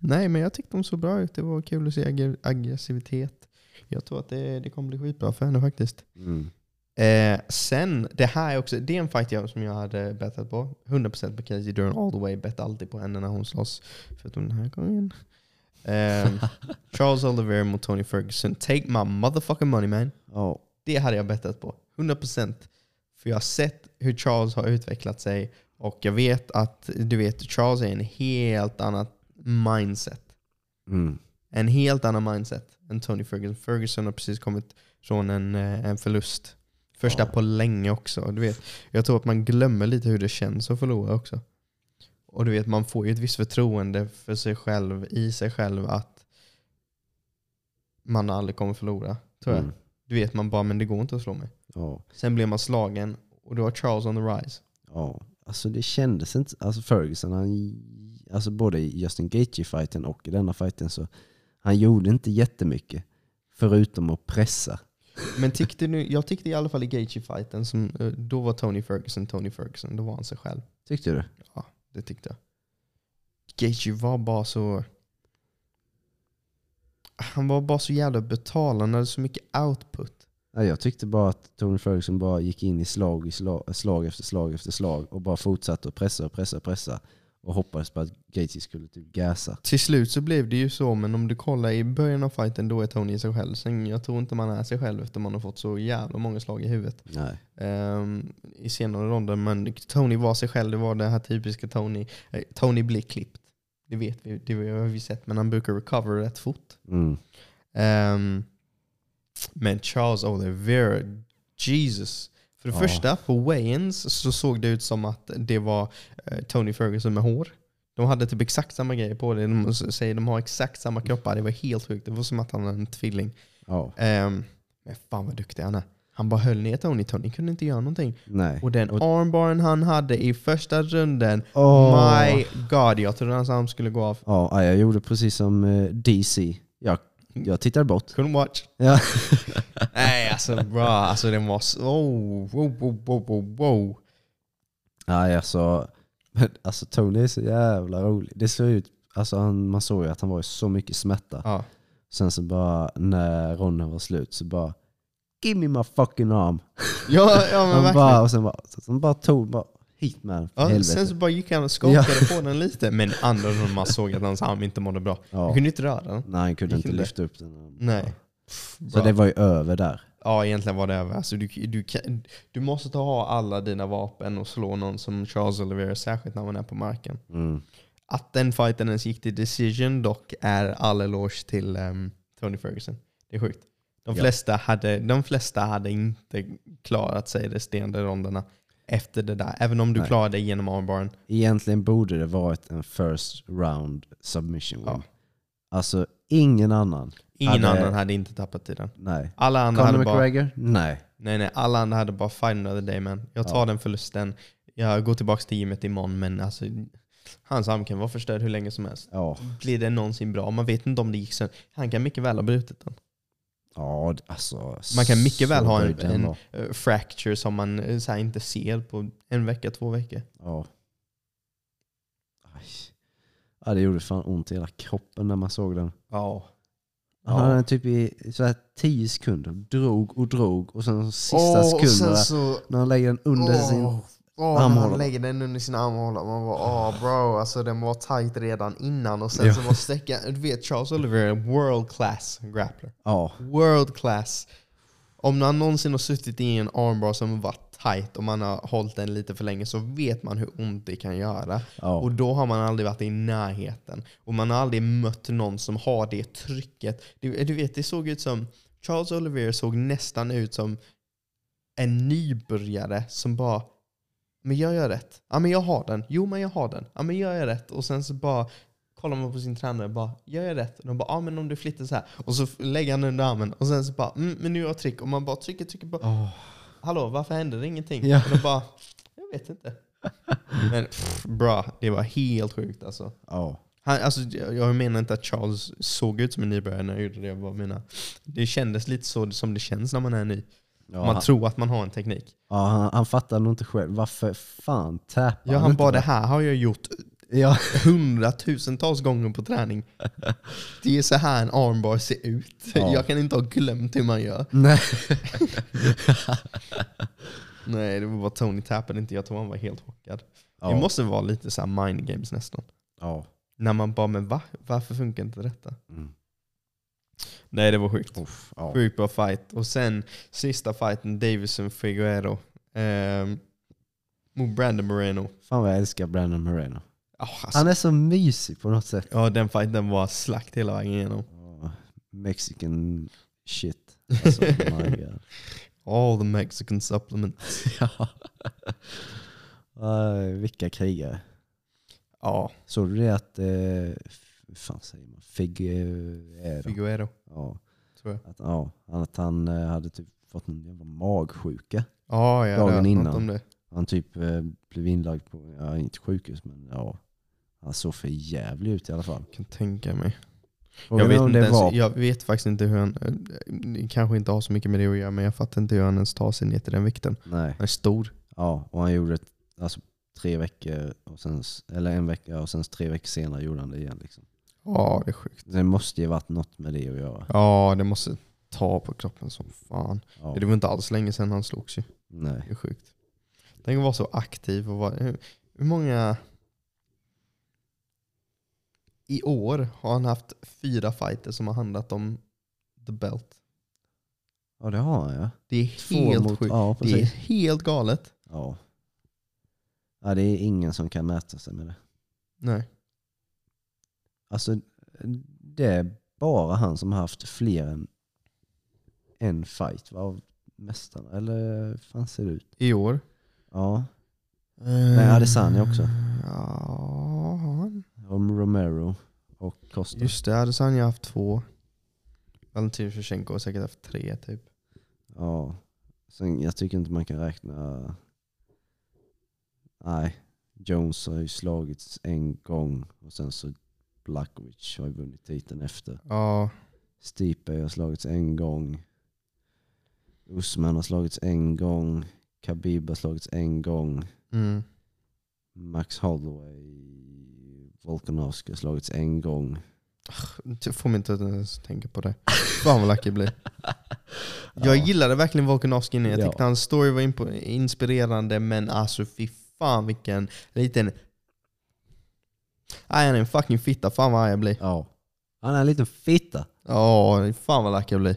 nej, men jag tyckte de såg bra ut. Det var kul att se ag- aggressivitet. Jag tror att det, det kommer bli skitbra för henne faktiskt.
Mm.
Eh, sen, det här är också, det är en fight jag, som jag hade bettat på. 100% på Casey Dern all the way. Bet alltid på henne när hon slåss. Förutom den här gången. Ehm, Charles Oliver mot Tony Ferguson. Take my motherfucking money man.
ja.
Det hade jag bettat på. 100%. För jag har sett hur Charles har utvecklat sig. Och jag vet att, du vet, Charles är en helt annat mindset
Mm.
en helt annan mindset än Tony Ferguson. Ferguson har precis kommit från en, eh, en förlust. Första
Ja.
på länge också. Du vet, jag tror att man glömmer lite hur det känns att förlora också. Och du vet, man får ju ett visst förtroende för sig själv, i sig själv, att man aldrig kommer förlora. Tror jag.
Mm.
Du vet, man bara, men det går inte att slå mig.
Ja,
Sen blir man slagen och då har Charles on the rise.
ja. Alltså det kändes inte, alltså Ferguson, han, alltså både i Justin Gaethje-fighten och i denna fighten så han gjorde inte jättemycket förutom att pressa.
Men tyckte nu, jag tyckte i alla fall i Gaethje-fighten, som, eh, då var Tony Ferguson Tony Ferguson. Då var han sig själv.
Tyckte du?
Ja, det tyckte jag. Gaethje var bara så... han var bara så jävla brutal. Han hade så mycket output.
Ja, jag tyckte bara att Tony Ferguson bara gick in i slag, i slag, slag efter slag efter slag och bara fortsatte att pressa och pressa och pressa och hoppades på att Gaethje skulle typ gasa.
Till slut så blev det ju så, men om du kollar i början av fighten då är Tony sig själv. Sen, jag tror inte man är sig själv efter man har fått så jävla många slag i huvudet
Nej.
ehm, i senare ronder. Men Tony var sig själv. Det var den här typiska Tony. Eh, Tony blir klippt. Det vet vi, det har vi sett. Men han brukar recover rätt fort.
Mm.
Ehm, men Charles Oliveira, Jesus. För det
Ja.
första, på Wayans så såg det ut som att det var eh, Tony Ferguson med hår. De hade typ exakt samma grejer på det. De säger de har exakt samma kroppar. Det var helt sjukt. Det var som att han var en tvilling.
Ja,
Ehm, men fan vad duktig han är. Han bara höll ner Tony. Tony kunde inte göra någonting.
nej.
Och den armbaren han hade i första runden,
Åh.
my god. Jag trodde hans arm skulle gå av.
Ja, ja, jag gjorde precis som eh, DC. Jag, jag tittade bort.
Couldn't watch.
Ja.
Nej, alltså bra. Alltså den var så... Oh, wow, wow, wow, wow, wow.
Nej, alltså, men, alltså Tony är så jävla rolig. Det såg ut, alltså, han, man såg ju att han var i så mycket smärta.
Ja.
Sen så bara när ronden var slut så bara Give me my fucking arm.
Ja, ja men
Han
verkligen.
bara, och sen bara, så han bara tog bara hit med den. för
ja,
helvete.
sen så bara gick han och skakade på den lite. Men andra rundan man såg att hans arm inte mådde bra.
Ja.
Han kunde inte röra den.
Nej, han kunde
Gick
inte
inte.
lyfta upp den.
Nej.
Så
Bra.
det var ju över där.
Ja, egentligen var det över. Alltså, du, du, kan, du måste ta ha alla dina vapen och slå någon som Charles Oliveira, särskilt när man är på marken.
Mm.
Att den fighten ens gick till decision dock är all eloge till ehm, Tony Ferguson. Det är sjukt. De
Ja.
flesta, hade, de flesta hade inte klarat sig resterande ronderna efter det där. Även om du
Nej.
klarade dig genom armbaren.
Egentligen borde det varit en first round submission win.
Ja.
Alltså ingen annan.
Ingen
Hade-
annan hade inte tappat tiden.
Nej.
Alla andra
Conor
hade bara,
McGregor? Nej.
nej, nej, alla andra hade bara fight another day man. Jag tar den förlusten. Jag går tillbaka till gymmet imorgon men alltså, hans arm kan vara förstörd hur länge som helst.
Ja.
Blir det någonsin bra? Man vet inte om det gick sönder. Han kan mycket väl ha brutit den.
Ja, d- alltså.
Man kan
så
mycket väl ha en,
böjd den
en
var.
eh, fracture som man eh, så här, inte ser på en vecka, två veckor.
Ja. Aj. Ja, det gjorde fan ont i hela kroppen när man såg den.
Ja.
Han hade den typ i så här 10 sekunder. Drog och drog och sen de sista
och
sekunderna
sen så...
när han lägger den under sin...
Åh, när
armhåla.
han lägger den under sin armhåla. Man bara åh bro, alltså den var tight redan innan. Och sen
Ja.
så var sträckan... Du vet Charles Oliver är en world class grappler.
Ja.
World class. Om man någonsin har suttit i en armbar som varit tight och man har hållit den lite för länge så vet man hur ont det kan göra.
Ja.
Och då har man aldrig varit i närheten. Och man har aldrig mött någon som har det trycket. Du, du vet, det såg ut som... Charles Oliver såg nästan ut som en nybörjare som bara men jag gör rätt. Ja men jag har den. Jo men jag har den. Ja men jag gör rätt. Och sen så bara kollar man på sin tränare och bara gör jag rätt? Och de bara ja men om du flyttar så här. Och så f- lägger han under armen och sen så bara mm, men nu har jag tryck. Och man bara trycker, trycker bara.
Åh.
Hallå varför händer det ingenting?
Ja.
Och de bara jag vet
*laughs*
inte. Men pff, bra, det var helt sjukt alltså.
Ja.
Han, alltså. jag- Jag menar inte att Charles såg ut som en nybörjare när jag gjorde det. Jag bara menar, det kändes lite så som det känns när man är ny.
Ja,
man
han,
tror att man har en teknik.
ja, han, han fattar nog inte själv. Varför fan tappar
Ja, han
inte
bara det här har jag gjort
Ja.
hundratusentals gånger på
*laughs*
träning. Det är så här en armbar ser ut.
Ja.
Jag kan inte ha glömt hur man gör.
Nej.
*laughs* Nej, det var bara Tony tappade inte. Jag tror han var helt chockad.
Ja.
Det måste vara lite så här mind games nästan.
Ja.
När man bara, men va? Varför funkar inte detta?
Mm.
Nej, det var sjukt.
Uff, ja.
Sjukt bra fight. Och sen sista fighten, Davison Figuero. Ehm, mot Brandon Moreno.
Fan vad jag älskar Brandon Moreno.
Ah, alltså,
Han är så mysig på något sätt.
Ja, den fighten var slakt hela vägen igenom.
Ja. Mexican shit.
*laughs*
Alltså, my God.
All the Mexican supplements.
Ja. Aj, vilka krigare.
*laughs* Ja,
Såg du det att, eh, f- hur fan säger man, Figuero?
Figuero.
Ja.
Tror jag.
Att, ja, att han eh, hade typ fått någon jävla magsjuka.
Ja, jag har
Dagen
hört något
innan.
om det.
Han typ eh, blev inlagd på, ja inte sjukhus men ja. Han såg för jävlig ut i alla fall.
Jag kan tänka mig.
Frågan
jag,
är
vet
om
inte
det
ens,
var
jag vet faktiskt inte hur han, eh, kanske inte har så mycket med det att göra, men jag fattar inte hur han ens tar sig ner till den vikten.
Nej.
Han är stor.
Ja, och han gjorde ett, alltså, tre veckor, och sen, s- eller en vecka och sen tre veckor senare gjorde han det igen. Liksom.
Ja, det är sjukt.
Det måste ju varit något med det att göra.
Ja, det måste ta på kroppen som fan.
Ja.
Det var inte alls länge sedan han slogs ju.
Nej.
Det är sjukt. Tänk att vara så aktiv och vara... Hur hur många... I år har han haft fyra fighter som har handlat om the belt.
Ja det har jag.
Det är helt sjukt.
Ja
det är
precis.
helt galet.
Ja. ja det är ingen som kan mäta sig med det.
Nej.
Alltså det är bara han som har haft fler än en fight va, av mästarna. Eller hur fan ser det ut?
I år.
Ja. Nej Adesanya också.
Ja, han.
Om Romero och Costa.
just det. Adesanya har haft två. Valentin Shevchenko har säkert haft tre typ.
Ja. Sen, jag tycker inte man kan räkna... Nej. Jones har ju slagits en gång och sen så Blackovich har ju vunnit titeln efter.
Ja,
Stipe har slagits en gång. Usman har slagits en gång. Khabib har slagits en gång.
mm.
Max Holloway, Volkanovski har slagits en gång.
Det får mig inte att ens tänka på det. Fan vad lack jag blir. Jag gillade verkligen Volkanovski innan. Jag
Ja.
tyckte hans story var impo- inspirerande, men alltså fy fan vilken liten... Nej, han är en fucking fitta. Fan vad arg jag blir.
Ja. Han är en liten fitta.
Ja, fan vad lack jag blir.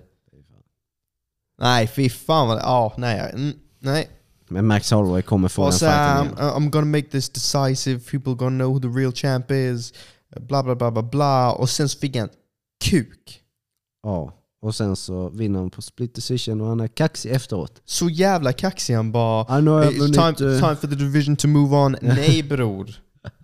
Nej, fy fan vad... Ja, nej. jag- mm, Nej.
Men Max Holloway kommer få den
Och så,
fighten
um,
igen.
I'm gonna make this decisive, people gonna know who the real champ is. Bla bla bla bla bla. Och sen så fick han kuk.
Ja, och sen så vinner han på split decision och han är kaxig efteråt.
Så jävla kaxig han bara.
Ja, nu har jag
It's
vunnit,
time,
eh,
time for the division to move
*laughs*
on. Nej bror.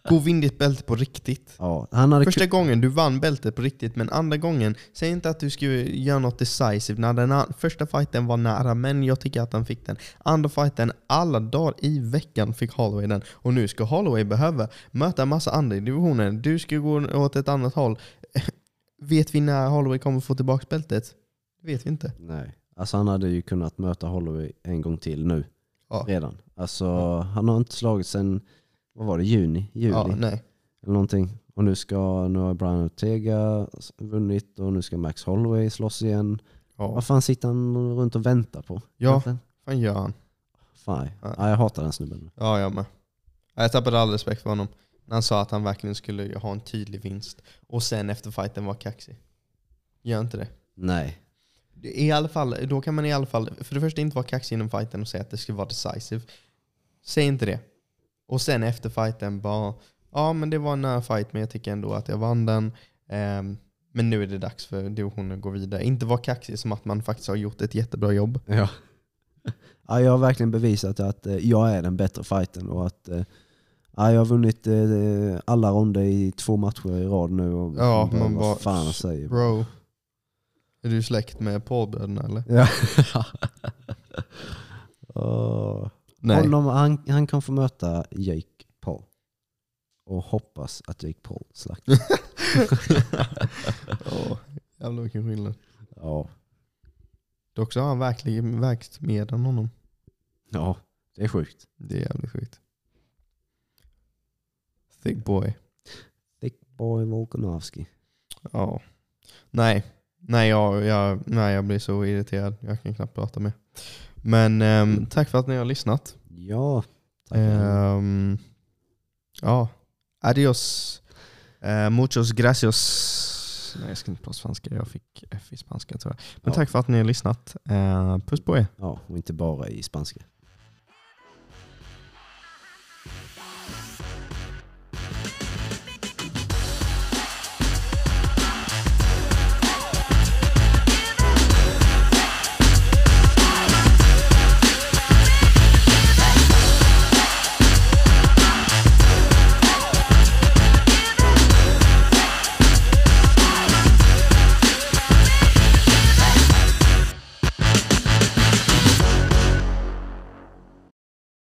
Gå och vinn ditt bälte på riktigt.
Ja, han hade
Första
ku-
gången du vann bältet på riktigt, men andra gången, säg inte att du ska göra något decisive. När den an- första fighten var nära, men jag tycker att han fick den. Andra fighten, alla dagar i veckan fick Holloway den. Och nu ska Holloway behöva möta en massa andra i divisionen. Du ska gå åt ett annat håll. *laughs* Vet vi när Holloway kommer få tillbaka bältet? Det vet vi inte.
Nej, alltså han hade ju kunnat möta Holloway en gång till nu.
Ja.
Redan. Alltså han har inte slagit sen, vad var det, juni? Juli?
Ja, nej.
eller någonting. Och nu, ska, nu har Brian Ortega vunnit och nu ska Max Holloway slåss igen.
Ja.
Vad fan sitter han runt och väntar på?
Ja.
Egentligen?
fan gör han?
Fan.
Ja.
Ja, jag hatar den snubben.
Ja, jag med. Ja, Jag tappade all respekt för honom. När han sa att han verkligen skulle ha en tydlig vinst. Och sen efter fighten var kaxig. Gör inte det.
Nej.
Det- I alla fall, då kan man i alla fall, för det första inte vara kaxig inom fighten och säga att det ska vara decisive. Säg inte det. Och sen efter fighten bara, ja men det var en nära fight men jag tycker ändå att jag vann den. Ehm, men nu är det dags för divisionen att gå vidare. Inte vara kaxig som att man faktiskt har gjort ett jättebra jobb.
*laughs* Ja. jag har verkligen bevisat att eh, jag är den bättre fighten och att eh, ja, jag har vunnit eh, alla ronder i två matcher i rad nu. Och
Ja,
bara,
man
vad
bara,
fan han säger.
Bro, är du släkt med Paulbröderna eller? *laughs*
Ja. Åh. Honom, han, han kan få möta Jake Paul. Och hoppas att Jake Paul slaktar.
*laughs* Ja, jävlar vilken skillnad.
ja.
Dock så har han verkligen vägt mer än honom.
ja, det är sjukt.
Det är jävligt sjukt. Thick boy.
Thick boy Volkanovski.
Ja. Nej. Nej jag, jag, nej, jag blir så irriterad. Jag kan knappt prata mer. Men ehm, tack för att ni har lyssnat.
Ja, tackar.
Ehm, ja. Adios. Eh, muchos gracias. Nej, jag ska inte prata spanska. Jag fick F i spanska tror jag. Men
Ja.
tack för att ni har lyssnat. Eh, puss på er.
ja, och inte bara i spanska.